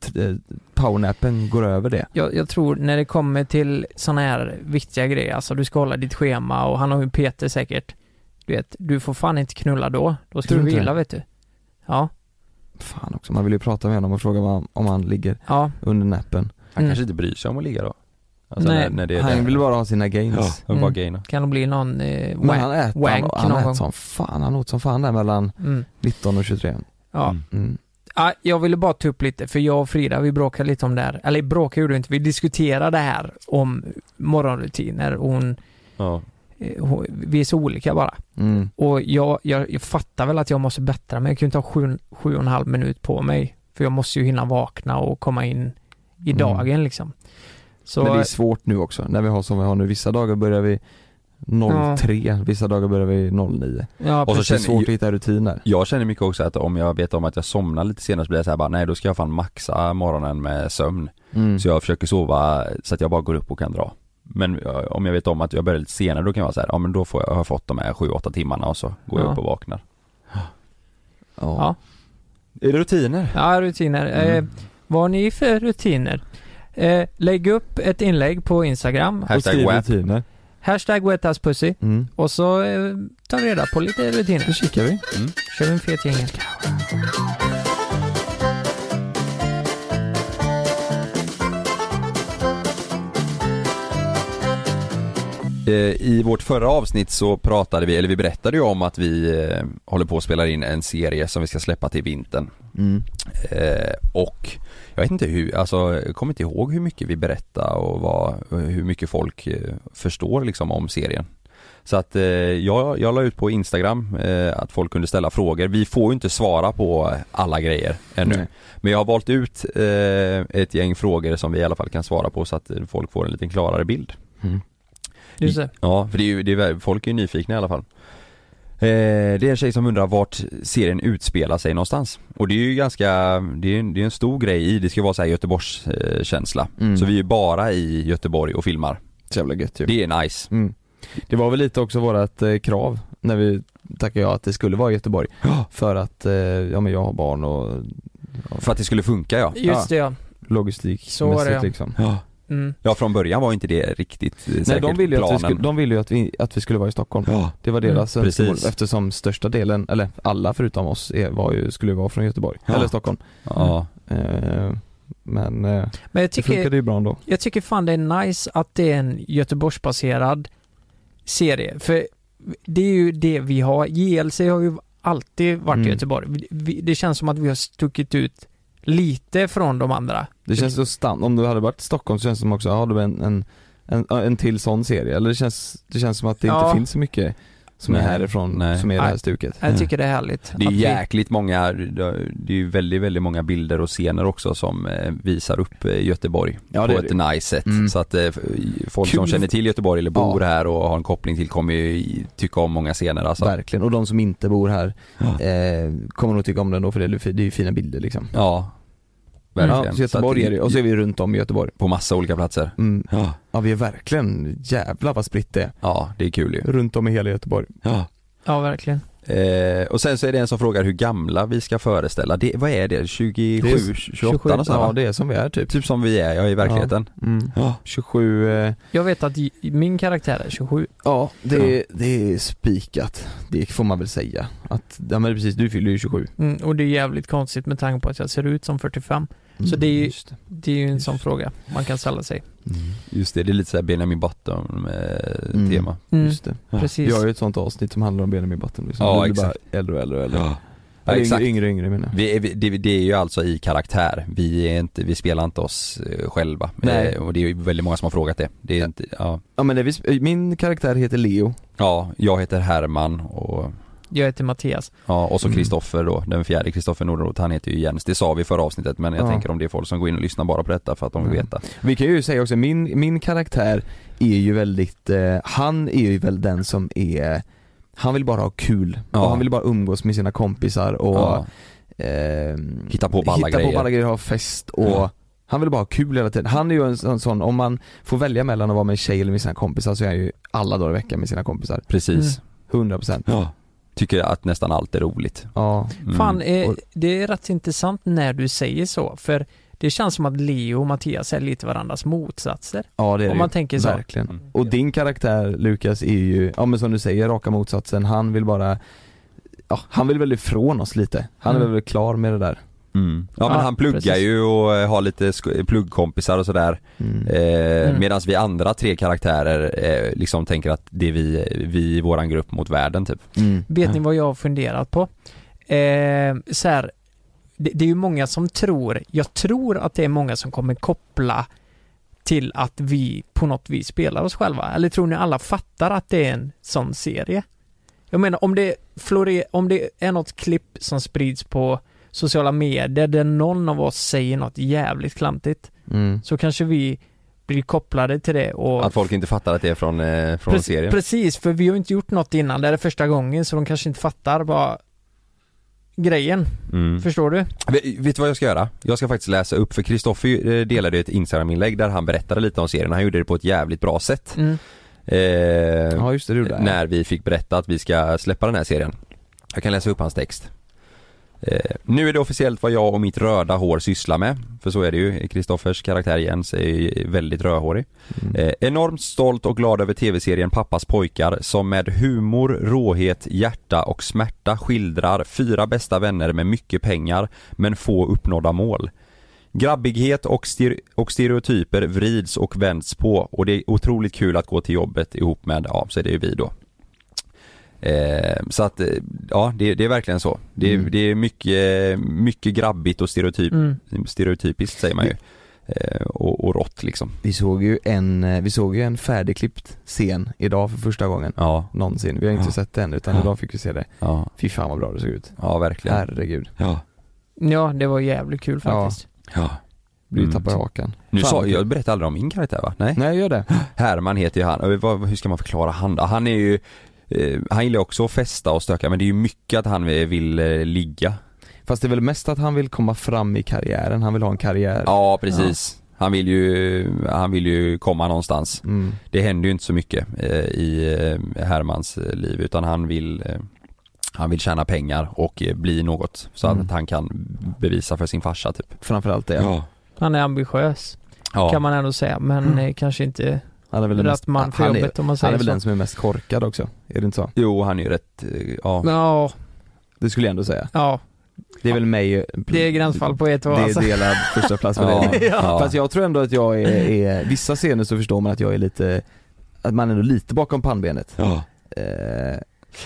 Speaker 1: t- eh, powernappen går över det?
Speaker 3: Jag, jag tror när det kommer till såna här viktiga grejer, alltså du ska hålla ditt schema och han har ju Peter säkert. Du vet, du får fan inte knulla då. Då ska
Speaker 1: Tror
Speaker 3: du
Speaker 1: du inte
Speaker 3: vila
Speaker 1: det?
Speaker 3: vet du. Ja.
Speaker 1: Fan också, man vill ju prata med honom och fråga vad han- om han ligger
Speaker 3: Ja.
Speaker 1: under nappen.
Speaker 2: Han
Speaker 3: Mm.
Speaker 2: kanske inte bryr sig om att ligga då. Alltså
Speaker 3: Nej,
Speaker 2: när, när det är
Speaker 1: han
Speaker 2: det.
Speaker 1: vill bara ha sina gains.
Speaker 2: Ja, han vill bara
Speaker 3: Mm.
Speaker 2: gaina.
Speaker 3: Kan det bli någon eh,
Speaker 1: Men
Speaker 3: wank,
Speaker 1: han äter,
Speaker 3: wank
Speaker 1: han, han
Speaker 3: någon
Speaker 1: äter
Speaker 3: gång?
Speaker 1: som fan, han åt som fan där mellan
Speaker 3: Mm.
Speaker 1: 19 och 23.
Speaker 3: Ja.
Speaker 1: Mm.
Speaker 3: Ja, jag ville bara ta upp lite, för jag och Frida vi bråkade lite om det här. Eller bråkade gjorde vi inte, vi diskuterade det här om morgonrutiner. Och Hon,
Speaker 2: Ja.
Speaker 3: eh, hon, vi är så olika bara.
Speaker 1: Mm.
Speaker 3: Och jag, jag, jag fattar väl att jag måste bättra mig. Jag kan ju inte ha sju, sju och en halv minut på mig. För jag måste ju hinna vakna och komma in i
Speaker 1: Mm.
Speaker 3: dagen liksom. Så,
Speaker 1: Men det är svårt nu också, när vi har som vi har nu. Vissa dagar börjar vi 03, vissa dagar börjar vi 09.
Speaker 3: Ja,
Speaker 1: och så
Speaker 2: precis.
Speaker 1: känns det svårt att hitta rutiner.
Speaker 2: Jag känner mycket också att om jag vet om att jag somnar lite senare så blir det så här bara, nej då ska jag fan maxa morgonen med sömn.
Speaker 1: Mm.
Speaker 2: Så jag försöker sova så att jag bara går upp och kan dra. Men eh, om jag vet om att jag börjar lite senare då kan jag vara så här, ja men då får jag, har jag fått de här 7-8 timmarna och så går jag
Speaker 3: Ja.
Speaker 2: upp och vaknar.
Speaker 3: Ja.
Speaker 1: Är det rutiner?
Speaker 3: ja, rutiner.
Speaker 1: Mm.
Speaker 3: Eh, vad har ni för rutiner? Eh, lägg upp ett inlägg på Instagram.
Speaker 1: Och
Speaker 2: Hashtag
Speaker 1: skriv
Speaker 2: WAP.
Speaker 1: rutiner.
Speaker 3: Hashtag wethasspussy.
Speaker 1: Mm.
Speaker 3: Och så eh, tar vi reda på lite rutiner.
Speaker 1: Då kikar vi.
Speaker 3: kör vi en fet jingel.
Speaker 2: Eh, I vårt förra avsnitt så pratade vi, eller vi berättade ju om att vi eh, håller på att spela in en serie som vi ska släppa till vintern.
Speaker 1: Mm.
Speaker 2: Eh, och jag vet inte hur, alltså jag kommer inte ihåg hur mycket vi berättade och vad, hur mycket folk eh, förstår liksom om serien. Så att eh, jag, jag la ut på Instagram eh, att folk kunde ställa frågor. Vi får ju inte svara på alla grejer ännu.
Speaker 1: Nej.
Speaker 2: Men jag har valt ut eh, ett gäng frågor som vi i alla fall kan svara på så att eh, folk får en lite klarare bild.
Speaker 3: Just det.
Speaker 2: Ja, för det är ju, det är, folk är ju nyfikna i alla fall. Eh, det är en tjej som undrar vart serien utspelar sig någonstans. Och det är ju ganska, det är, en- det är en stor grej i, det ska vara så här Göteborgs eh, känsla.
Speaker 1: Mm.
Speaker 2: Så vi är ju bara i Göteborg och filmar.
Speaker 1: Så jävla gött ju.
Speaker 2: Det är nice.
Speaker 1: Mm. Det var väl lite också vårat eh, krav när vi tackade ja att det skulle vara i Göteborg. För att, eh, ja men jag har barn och
Speaker 2: För att det skulle funka ja.
Speaker 3: Just det ja. Så var det, ja.
Speaker 1: logistikmässigt liksom.
Speaker 2: Ja,
Speaker 3: Mm.
Speaker 2: ja från början var ju inte det riktigt eh,
Speaker 1: Nej
Speaker 2: säkert
Speaker 1: de ville ju att
Speaker 2: planen.
Speaker 1: vi, skulle, de ville ju att vi, att vi skulle vara i Stockholm.
Speaker 2: Ja.
Speaker 1: Det var deras
Speaker 2: Mm.
Speaker 1: önskemål
Speaker 2: Precis.
Speaker 1: eftersom största delen, eller alla förutom oss, är, var ju, skulle ju vara från Göteborg,
Speaker 2: Ja.
Speaker 1: eller Stockholm.
Speaker 2: Ja.
Speaker 1: Eh, men eh,
Speaker 3: Men jag
Speaker 1: det
Speaker 3: tycker,
Speaker 1: funkade ju bra ändå.
Speaker 3: jag tycker fan det är nice att det är en Göteborgsbaserad serie. För det är ju det vi har. JLC har ju alltid varit
Speaker 1: Mm.
Speaker 3: i Göteborg. Vi- Vi, det känns som att vi har stuckit ut lite från de andra.
Speaker 1: Det känns så stan om du hade varit i Stockholm så känns det som också, ja du en, en, en, en till sån serie, eller det känns, det känns som att det
Speaker 3: Ja.
Speaker 1: inte finns så mycket som är
Speaker 2: Nej.
Speaker 1: härifrån,
Speaker 2: Nej.
Speaker 1: som är det här
Speaker 3: Nej.
Speaker 1: stuket.
Speaker 3: Jag tycker det är härligt.
Speaker 2: Det är
Speaker 3: att vi-
Speaker 2: jäkligt många, det är ju väldigt, väldigt många bilder och scener också som eh, visar upp eh, Göteborg
Speaker 1: Ja,
Speaker 2: på
Speaker 1: det är
Speaker 2: ett
Speaker 1: det.
Speaker 2: nice sätt.
Speaker 1: Mm.
Speaker 2: Så att eh, f- folk som
Speaker 1: Kul.
Speaker 2: känner till Göteborg eller bor
Speaker 1: Ja.
Speaker 2: här och har en koppling till kommer ju i- tycka om många scener alltså.
Speaker 1: Verkligen, och de som inte bor här eh, kommer nog tycka om den då för det är ju fi- det är ju fina bilder liksom.
Speaker 2: Ja. verkligen.
Speaker 1: Ja, så Göteborg är det och så är vi runt om i Göteborg.
Speaker 2: På massa olika platser.
Speaker 1: Mm.
Speaker 2: Ja.
Speaker 1: Ja vi är verkligen, jävlar vad spritt det är.
Speaker 2: Ja, det är kul ju.
Speaker 1: Runt om i hela Göteborg.
Speaker 2: Ja.
Speaker 3: Ja, verkligen.
Speaker 2: Eh, och sen så är det en som frågar hur gamla vi ska föreställa. Det, vad är det? 27,
Speaker 1: Det är
Speaker 2: 28 någonstans,
Speaker 1: Ja
Speaker 2: va?
Speaker 1: det är som vi är typ.
Speaker 2: Typ som vi är, ja i verkligheten.
Speaker 1: Mm. 27, eh,
Speaker 3: Jag vet att j- min karaktär är 27.
Speaker 1: ja det, det är spikat. Det får man väl säga. Att, ja men precis, du fyller ju 27.
Speaker 3: Mm, och det är jävligt konstigt med tanke på att jag ser ut som 45. Så
Speaker 1: Mm,
Speaker 3: det är ju, det är ju en sån fråga man kan ställa sig.
Speaker 2: Just det, det är lite såhär Benjamin Bottom eh,
Speaker 1: Mm.
Speaker 2: tema.
Speaker 3: Mm.
Speaker 1: Just det.
Speaker 2: Ja.
Speaker 3: Precis.
Speaker 1: Vi har ju ett sånt avsnitt som handlar om Benjamin Button liksom.
Speaker 2: Ja,
Speaker 1: Då blir det
Speaker 2: exakt.
Speaker 1: Bara äldre och äldre och äldre.
Speaker 2: Ja. Ja,
Speaker 1: Eller
Speaker 2: exakt.
Speaker 1: yngre, yngre, yngre menar jag.
Speaker 2: Vi är, vi- det, det är ju alltså i karaktär, vi, är inte, vi spelar inte oss eh, själva.
Speaker 1: Nej.
Speaker 2: Eh, och det är ju väldigt många som har frågat det. det är inte, ja.
Speaker 1: Ja men det är vi, sp- min karaktär heter Leo.
Speaker 2: ja, jag heter Herman och
Speaker 3: Jag heter Mattias.
Speaker 2: Ja, och så
Speaker 1: Mm.
Speaker 2: Kristoffer då, den fjärde Kristoffer Nordroth, han heter ju Jens. Det sa vi i förra avsnittet men jag
Speaker 1: Ja.
Speaker 2: tänker om det är folk som går in och lyssnar bara på detta för att de vill
Speaker 1: Mm.
Speaker 2: veta.
Speaker 1: Vi kan ju säga också, min, min karaktär är ju väldigt, eh, han är ju väl den som är, han vill bara ha kul
Speaker 2: Ja.
Speaker 1: och han vill bara umgås med sina kompisar och
Speaker 2: Ja.
Speaker 1: ehm,
Speaker 2: Hitta på balla
Speaker 1: hitta
Speaker 2: grejer.
Speaker 1: på alla grejer, ha fest och
Speaker 2: Ja.
Speaker 1: han vill bara ha kul hela tiden. Han är ju en sån, sån, om man får välja mellan att vara med en tjej eller med sina kompisar så är han ju alla dagar i veckan med sina kompisar.
Speaker 2: Precis.
Speaker 3: Mm.
Speaker 1: 100%
Speaker 2: Ja. Tycker att nästan allt är roligt.
Speaker 1: Ja,
Speaker 2: Mm.
Speaker 3: Fan, eh, det är rätt intressant när du säger så, för det känns som att Leo och Mattias är lite varandras motsatser.
Speaker 1: ja det är
Speaker 3: Om
Speaker 1: det
Speaker 3: man
Speaker 1: ju.
Speaker 3: tänker så.
Speaker 1: Verkligen.
Speaker 2: Mm.
Speaker 1: Och din karaktär Lukas är ju, ja men som du säger, raka motsatsen. Han vill bara, ja han vill väl ifrån oss lite. Han är
Speaker 3: Mm.
Speaker 1: väl klar med det där.
Speaker 2: Mm. Ja, men
Speaker 3: Ja,
Speaker 2: han pluggar
Speaker 3: precis.
Speaker 2: ju och eh, har lite sk- pluggkompisar och sådär.
Speaker 1: Mm.
Speaker 2: Eh,
Speaker 3: Mm.
Speaker 2: Medan vi andra tre karaktärer eh, liksom tänker att det är vi, vi i våran grupp mot världen typ.
Speaker 1: Mm.
Speaker 3: Vet ni vad jag har funderat på? Eh, så här, det, det är ju många som tror, jag tror att det är många som kommer koppla till att vi på något vis spelar oss själva. Eller tror ni alla fattar att det är en sån serie? Jag menar om det, flore, om det är något klipp som sprids på sociala medier där någon av oss säger något jävligt klantigt
Speaker 1: Mm.
Speaker 3: så kanske vi blir kopplade till det och
Speaker 2: Att folk inte fattar att det är från, eh, från
Speaker 3: Prec-
Speaker 2: serien.
Speaker 3: Precis, för vi har ju inte gjort något innan. Det här är första gången så de kanske inte fattar vad grejen.
Speaker 2: Mm.
Speaker 3: Förstår du?
Speaker 2: Vet vet du vad jag ska göra? Jag ska faktiskt läsa upp, för Kristoffer eh, delade ett Instagram-inlägg där han berättade lite om serien, han gjorde det på ett jävligt bra sätt.
Speaker 3: Mm.
Speaker 2: Eh,
Speaker 1: Ja just det, du där.
Speaker 2: när vi fick berätta att vi ska släppa den här serien. Jag kan läsa upp hans text. Eh, nu är det officiellt vad jag och mitt röda hår sysslar med. För så är det ju, Kristoffers karaktär Jens är ju väldigt rödhårig. Eh, enormt stolt och glad över tv-serien Pappas pojkar som med humor, råhet, hjärta och smärta skildrar fyra bästa vänner med mycket pengar men få uppnådda mål. Grabbighet och, ster- och stereotyper vrids och vänds på och det är otroligt kul att gå till jobbet ihop med, ja så är det ju vi då. Eh, så att, eh, ja det, det är verkligen så. Det, är-
Speaker 1: Mm.
Speaker 2: det är mycket, mycket grabbigt och stereotyp,
Speaker 3: Mm.
Speaker 2: stereotypiskt säger man ju. Eh, och, och rått liksom.
Speaker 1: Vi såg ju en, eh, vi såg ju en färdigklippt scen idag för första gången.
Speaker 2: Ja,
Speaker 1: Någonsin. Vi har inte
Speaker 2: Ja.
Speaker 1: sett den utan
Speaker 2: Ja.
Speaker 1: idag fick vi se det.
Speaker 2: ja,
Speaker 1: Fy fan vad bra det såg ut.
Speaker 2: ja verkligen.
Speaker 1: Herregud.
Speaker 2: Ja.
Speaker 3: Ja, det var jävligt kul
Speaker 1: Ja.
Speaker 3: faktiskt.
Speaker 2: ja.
Speaker 1: Du
Speaker 2: Mm.
Speaker 1: tappar hakan.
Speaker 2: Nu
Speaker 1: Fan,
Speaker 2: sa,
Speaker 1: vad kul.
Speaker 2: jag berättade aldrig om min karaktär va? Nej?
Speaker 1: Nej gör det.
Speaker 2: Herman heter ju han, Och vad- hur ska man förklara han då? Han är ju, eh, han gillar också att festa och stöka men det är ju mycket att han vill eh, ligga.
Speaker 1: Fast det är väl mest att han vill komma fram i karriären, han vill ha en karriär.
Speaker 2: Ja precis. Han vill ju, han vill ju komma någonstans.
Speaker 1: Mm.
Speaker 2: Det händer ju inte så mycket eh, i eh, Hermans eh, liv utan han vill eh, han vill tjäna pengar och eh, bli något så
Speaker 1: Mm.
Speaker 2: att han kan bevisa för sin farsa typ.
Speaker 1: Framförallt det.
Speaker 3: Han är ambitiös,
Speaker 2: Ja.
Speaker 3: kan man ändå säga, men eh, kanske inte
Speaker 1: Mm. Han är väl den
Speaker 3: rätt
Speaker 1: mest,
Speaker 3: man för
Speaker 1: han är,
Speaker 3: jobbet om man
Speaker 1: han är
Speaker 3: säger
Speaker 1: väl
Speaker 3: så.
Speaker 1: den som är mest korkad också. Är det inte så?
Speaker 2: Jo, han är ju rätt, eh, ja.
Speaker 3: Ja,
Speaker 1: Det skulle jag ändå säga.
Speaker 3: ja,
Speaker 1: Det är väl mig eh,
Speaker 3: det är gränsfall på ett
Speaker 1: Det
Speaker 3: och alltså.
Speaker 1: är delad första plats med
Speaker 2: Ja,
Speaker 3: [laughs]
Speaker 1: dig.
Speaker 2: ja.
Speaker 1: Fast jag tror ändå att jag är, är, vissa scener så förstår man att jag är lite, att man är ändå lite bakom pannbenet.
Speaker 2: Ja.
Speaker 1: Eh,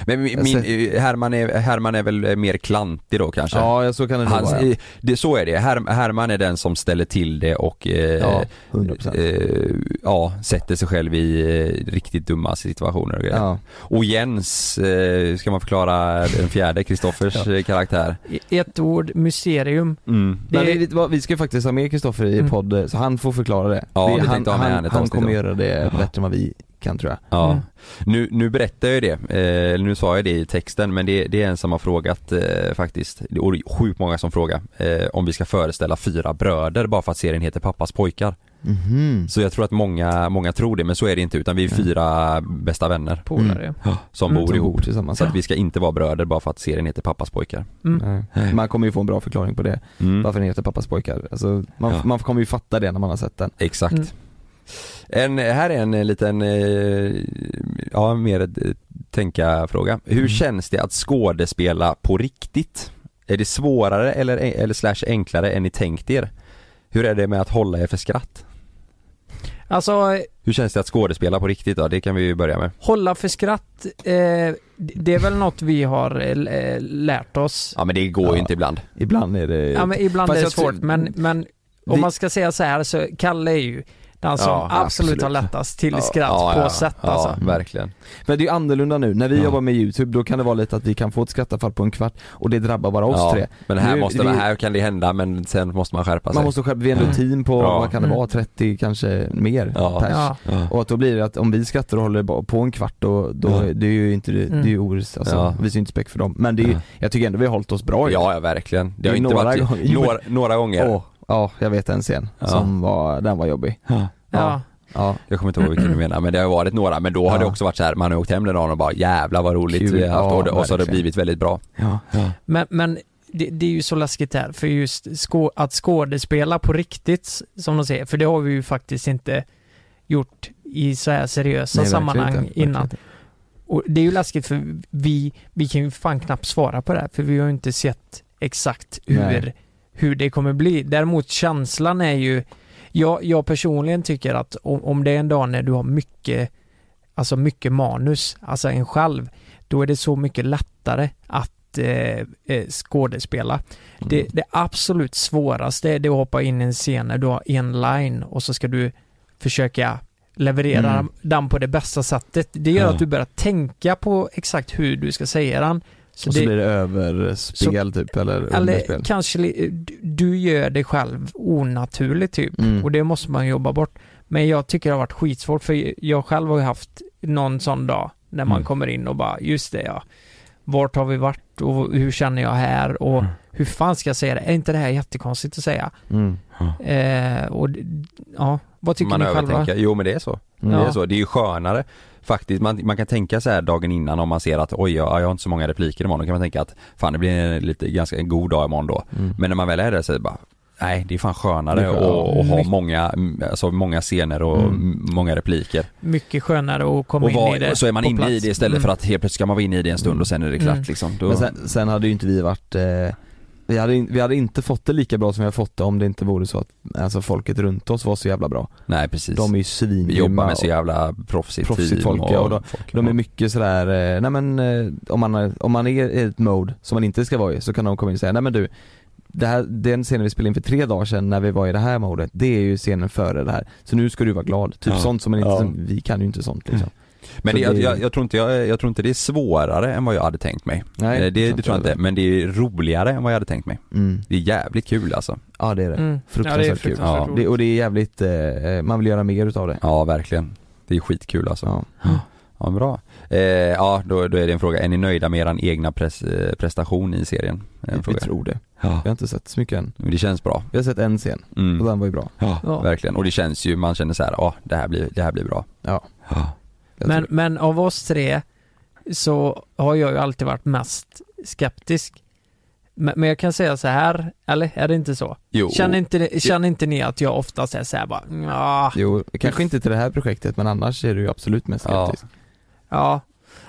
Speaker 2: Men min, min, eh, Herman, är, Herman är väl eh, mer klantig då kanske?
Speaker 1: ja, jag- så kan det nog
Speaker 2: Han,
Speaker 1: vara.
Speaker 2: eh, det, så är det, Her, Herman är den som ställer till det och eh,
Speaker 1: Ja, 100%.
Speaker 2: eh, ja, sätter sig själv i eh, riktigt dumma situationer och grejer.
Speaker 1: Ja.
Speaker 2: Och Jens, eh, ska man förklara den fjärde,
Speaker 1: [laughs]
Speaker 2: Kristoffers eh, karaktär?
Speaker 3: Ett ord, mysterium.
Speaker 2: Mm.
Speaker 1: Men
Speaker 3: Det-
Speaker 1: vi, vi- vi ska ju faktiskt ha med Kristoffer i
Speaker 3: Mm.
Speaker 1: podd eh, så han får förklarade det.
Speaker 2: Ja,
Speaker 1: det
Speaker 2: vi
Speaker 1: han,
Speaker 2: tänkte ha med han
Speaker 1: han,
Speaker 2: i ett
Speaker 1: han
Speaker 2: avsnitt
Speaker 1: kommer
Speaker 2: då.
Speaker 1: göra det bättre än vad vi veckan tror jag.
Speaker 2: Ja, nu, nu berättar jag ju det, eh, nu sa jag det i texten men det, det är en som har frågat eh, faktiskt, och det är sjukt många som frågar eh, om vi ska föreställa fyra bröder bara för att serien heter Pappas pojkar.
Speaker 1: Mhm.
Speaker 2: Så jag tror att många, många tror det men så är det inte utan vi är fyra bästa vänner
Speaker 3: Polare.
Speaker 2: Ja, som
Speaker 1: Mm,
Speaker 2: bor
Speaker 1: som bor
Speaker 2: ihop
Speaker 1: tillsammans.
Speaker 2: Så att
Speaker 1: Ja.
Speaker 2: vi ska inte vara bröder bara för att serien heter Pappas pojkar.
Speaker 3: Mm.
Speaker 1: Nej. Man kommer ju få en bra förklaring på det, varför den heter Pappas pojkar. Alltså, man,
Speaker 2: Mm. Ja.
Speaker 1: man kommer ju fatta det när man har sett den.
Speaker 2: Exakt.
Speaker 3: Mm.
Speaker 2: En, här är en eh, liten, eh, ja mer ett, eh, tänka-fråga.
Speaker 3: Mm.
Speaker 2: Hur känns det att skådespela på riktigt? Är det svårare eller, eller slash enklare än ni tänkt er? Hur är det med att hålla er för skratt?
Speaker 3: Alltså,
Speaker 2: Hur känns det att skådespela på riktigt då? Det kan vi ju börja med.
Speaker 3: hålla för skratt, eh, det är väl något vi har eh, lärt oss.
Speaker 2: Ja men det går ju inte ibland.
Speaker 1: Ibland är det...
Speaker 3: Ja, men ibland
Speaker 1: Fast
Speaker 3: är det
Speaker 1: jag tror- Mm.
Speaker 3: svårt, men, men om
Speaker 1: Vi-
Speaker 3: man ska säga så här så Kalle är ju den som
Speaker 1: Ja,
Speaker 3: absolut,
Speaker 1: absolut.
Speaker 3: har lättast till
Speaker 1: Ja,
Speaker 3: skratt
Speaker 1: ja,
Speaker 3: på
Speaker 1: ja,
Speaker 3: sätt
Speaker 1: ja.
Speaker 3: alltså.
Speaker 2: Verkligen.
Speaker 1: Men det är ju annorlunda nu, när vi jobbar med YouTube då kan det vara lite att vi kan få ett skattafall på en kvart och det drabbar bara oss
Speaker 2: ja,
Speaker 1: tre.
Speaker 2: Men här,
Speaker 1: Nu-
Speaker 2: måste,
Speaker 1: vi,
Speaker 2: här kan det hända men sen måste man skärpa sig.
Speaker 1: Man måste själv, vi är ändå ett team på,
Speaker 2: Ja.
Speaker 1: vad kan det
Speaker 2: Mm.
Speaker 1: vara, 30 kanske mer
Speaker 2: Ja.
Speaker 1: pers.
Speaker 2: Ja.
Speaker 1: Och att då blir det att om vi skrattar och håller bara på en kvart då, då
Speaker 2: Ja.
Speaker 1: det är ju inte, det
Speaker 3: Mm.
Speaker 1: är ju orättvist alltså,
Speaker 2: Ja.
Speaker 1: visar ju inte respekt för dem. Men det är ju, jag tycker ändå vi har hållit oss bra ju.
Speaker 2: Ja, ja verkligen. Det har inte
Speaker 1: några
Speaker 2: varit,
Speaker 1: gånger- jo, men-
Speaker 2: några, några gånger.
Speaker 1: Åh, ja, jag vet en scen
Speaker 2: Ja.
Speaker 1: som var, den var jobbig. Ja.
Speaker 3: Ja.
Speaker 1: Ja.
Speaker 2: Jag kommer inte ihåg vilken du menar men det har varit några men då har
Speaker 1: Ja.
Speaker 2: det också varit så här man har åkt hem den dagen och bara jävlar vad roligt
Speaker 1: Kul.
Speaker 2: vi har haft
Speaker 1: Ja,
Speaker 2: och, det- och så har det
Speaker 1: verkligen.
Speaker 2: blivit väldigt bra.
Speaker 3: Men, men det, det är ju så läskigt här, för just skå- att skådespela på riktigt, som de säger, för det har vi ju faktiskt inte gjort i så här seriösa
Speaker 1: Nej, verkligen
Speaker 3: sammanhang
Speaker 1: inte, verkligen
Speaker 3: innan.
Speaker 1: inte.
Speaker 3: Och det är ju läskigt för vi, vi kan ju fan knappt svara på det här, för vi har ju inte sett exakt hur,
Speaker 1: Nej.
Speaker 3: hur det kommer bli. Däremot känslan är ju, jag, jag personligen tycker att om, om det är en dag när du har mycket, alltså mycket manus, alltså en själv, då är det så mycket lättare att eh, eh, skådespela.
Speaker 1: Mm.
Speaker 3: Det, det absolut svåraste är det att hoppa in i en scen när du har en line och så ska du försöka leverera
Speaker 1: Mm.
Speaker 3: den på det bästa sättet. Det gör
Speaker 1: Ja.
Speaker 3: att du börjar tänka på exakt hur du ska säga den. Så
Speaker 1: och så
Speaker 3: det-
Speaker 1: blir det överspel typ eller,
Speaker 3: eller
Speaker 1: underspel.
Speaker 3: kanske li- du- du gör det själv onaturligt typ
Speaker 1: Mm.
Speaker 3: och det måste man jobba bort. Men jag tycker det har varit skitsvårt för jag själv har ju haft någon sån dag när man
Speaker 1: Mm.
Speaker 3: kommer in och bara just det ja. Vart har vi varit och hur känner jag här och
Speaker 2: Mm.
Speaker 3: hur fan ska jag säga det? Är inte det här jättekonstigt att säga?
Speaker 1: Mm.
Speaker 3: Eh, och d- ja, vad tycker
Speaker 2: man
Speaker 3: ni själva?
Speaker 2: övertänker. Jo men det är så.
Speaker 3: Mm.
Speaker 2: Det är
Speaker 3: Ja.
Speaker 2: så. Det är ju skönare faktiskt. Man, man kan tänka så här dagen innan om man ser att oj ja, jag har inte så många repliker imorgon. Då kan man tänka att fan det blir en lite, ganska en god dag imorgon då. Men när man väl är där så är det bara Nej det är fan skönare
Speaker 1: Det är
Speaker 2: att
Speaker 1: skönt.
Speaker 2: och, ha
Speaker 3: Mycket.
Speaker 2: många, alltså många scener och
Speaker 1: Mm.
Speaker 2: m- många repliker.
Speaker 3: Mycket skönare att komma
Speaker 2: och
Speaker 3: in i
Speaker 2: vad-
Speaker 3: det
Speaker 2: så är man
Speaker 3: på
Speaker 2: inne i
Speaker 3: plats.
Speaker 2: det istället
Speaker 3: Mm.
Speaker 2: för att helt plötsligt ska man vara inne i det en stund och sen är det klart
Speaker 3: Mm.
Speaker 2: liksom. Då...
Speaker 1: Men sen, sen hade ju inte vi varit eh, vi hade, in- vi hade inte fått det lika bra som vi har fått det om det inte vore så att alltså, folket runt oss var så jävla bra.
Speaker 2: Nej precis.
Speaker 1: De är ju
Speaker 2: Vi
Speaker 1: svingrymma
Speaker 2: jobbar med så
Speaker 1: och
Speaker 2: jävla proffsigt,
Speaker 1: proffsigt
Speaker 2: team
Speaker 1: folk ja, och de,
Speaker 2: folk.
Speaker 1: de är mycket sådär, eh, nej men eh, om man, är- om man är i ett mode som man inte ska vara i så kan de komma in och säga nej men du det här, den scenen vi spelade in för tre dagar sedan när vi var i det här modet, det är ju scenen före det här. Så nu ska du vara glad. Typ
Speaker 2: Ja.
Speaker 1: sånt som man inte,
Speaker 2: Ja.
Speaker 1: som, vi kan ju inte sånt liksom.
Speaker 2: Men
Speaker 1: Så
Speaker 2: det, jag,
Speaker 1: det-
Speaker 2: jag, jag, tror inte, jag, jag tror inte det är svårare än vad jag hade tänkt mig.
Speaker 1: Nej,
Speaker 2: Eh, det,
Speaker 1: det
Speaker 2: det,
Speaker 1: tror
Speaker 2: tror jag
Speaker 1: inte
Speaker 2: inte, men det är roligare än vad jag hade tänkt mig.
Speaker 1: Mm.
Speaker 2: Det är jävligt kul alltså.
Speaker 1: Ja det är det.
Speaker 3: Mm. Ja, det är
Speaker 1: Fruktansvärt kul.
Speaker 3: fruktansvärt
Speaker 1: Ja.
Speaker 3: roligt.
Speaker 1: Det, och det är jävligt, eh, man vill göra mer utav det.
Speaker 2: Ja verkligen. Det är skitkul alltså.
Speaker 1: Ja.
Speaker 2: Ja, bra. Eh, ja, då, då är det en fråga. Är ni nöjda med eran egna pres, eh, prestation i serien? En
Speaker 1: Vi tror det.
Speaker 2: Ja.
Speaker 1: Vi har inte sett så mycket än.
Speaker 2: Men Det känns bra.
Speaker 1: Vi har sett en scen
Speaker 2: Mm.
Speaker 1: och den var ju bra.
Speaker 2: Ja,
Speaker 3: Ja.
Speaker 2: verkligen. Och det känns ju, man känner så här, ja det, här blir, det här blir bra.
Speaker 1: Ja.
Speaker 2: Ja.
Speaker 1: Jag
Speaker 3: Men,
Speaker 1: tror det.
Speaker 3: men av oss tre så har jag ju alltid varit mest skeptisk. Men, men jag kan säga så här, eller är det inte så?
Speaker 2: Jo.
Speaker 3: Känner, inte, känner inte ni att jag oftast är så här bara ja,
Speaker 1: Jo, kanske inte till det här projektet men annars är du ju absolut mest
Speaker 2: Ja.
Speaker 1: skeptisk.
Speaker 3: ja.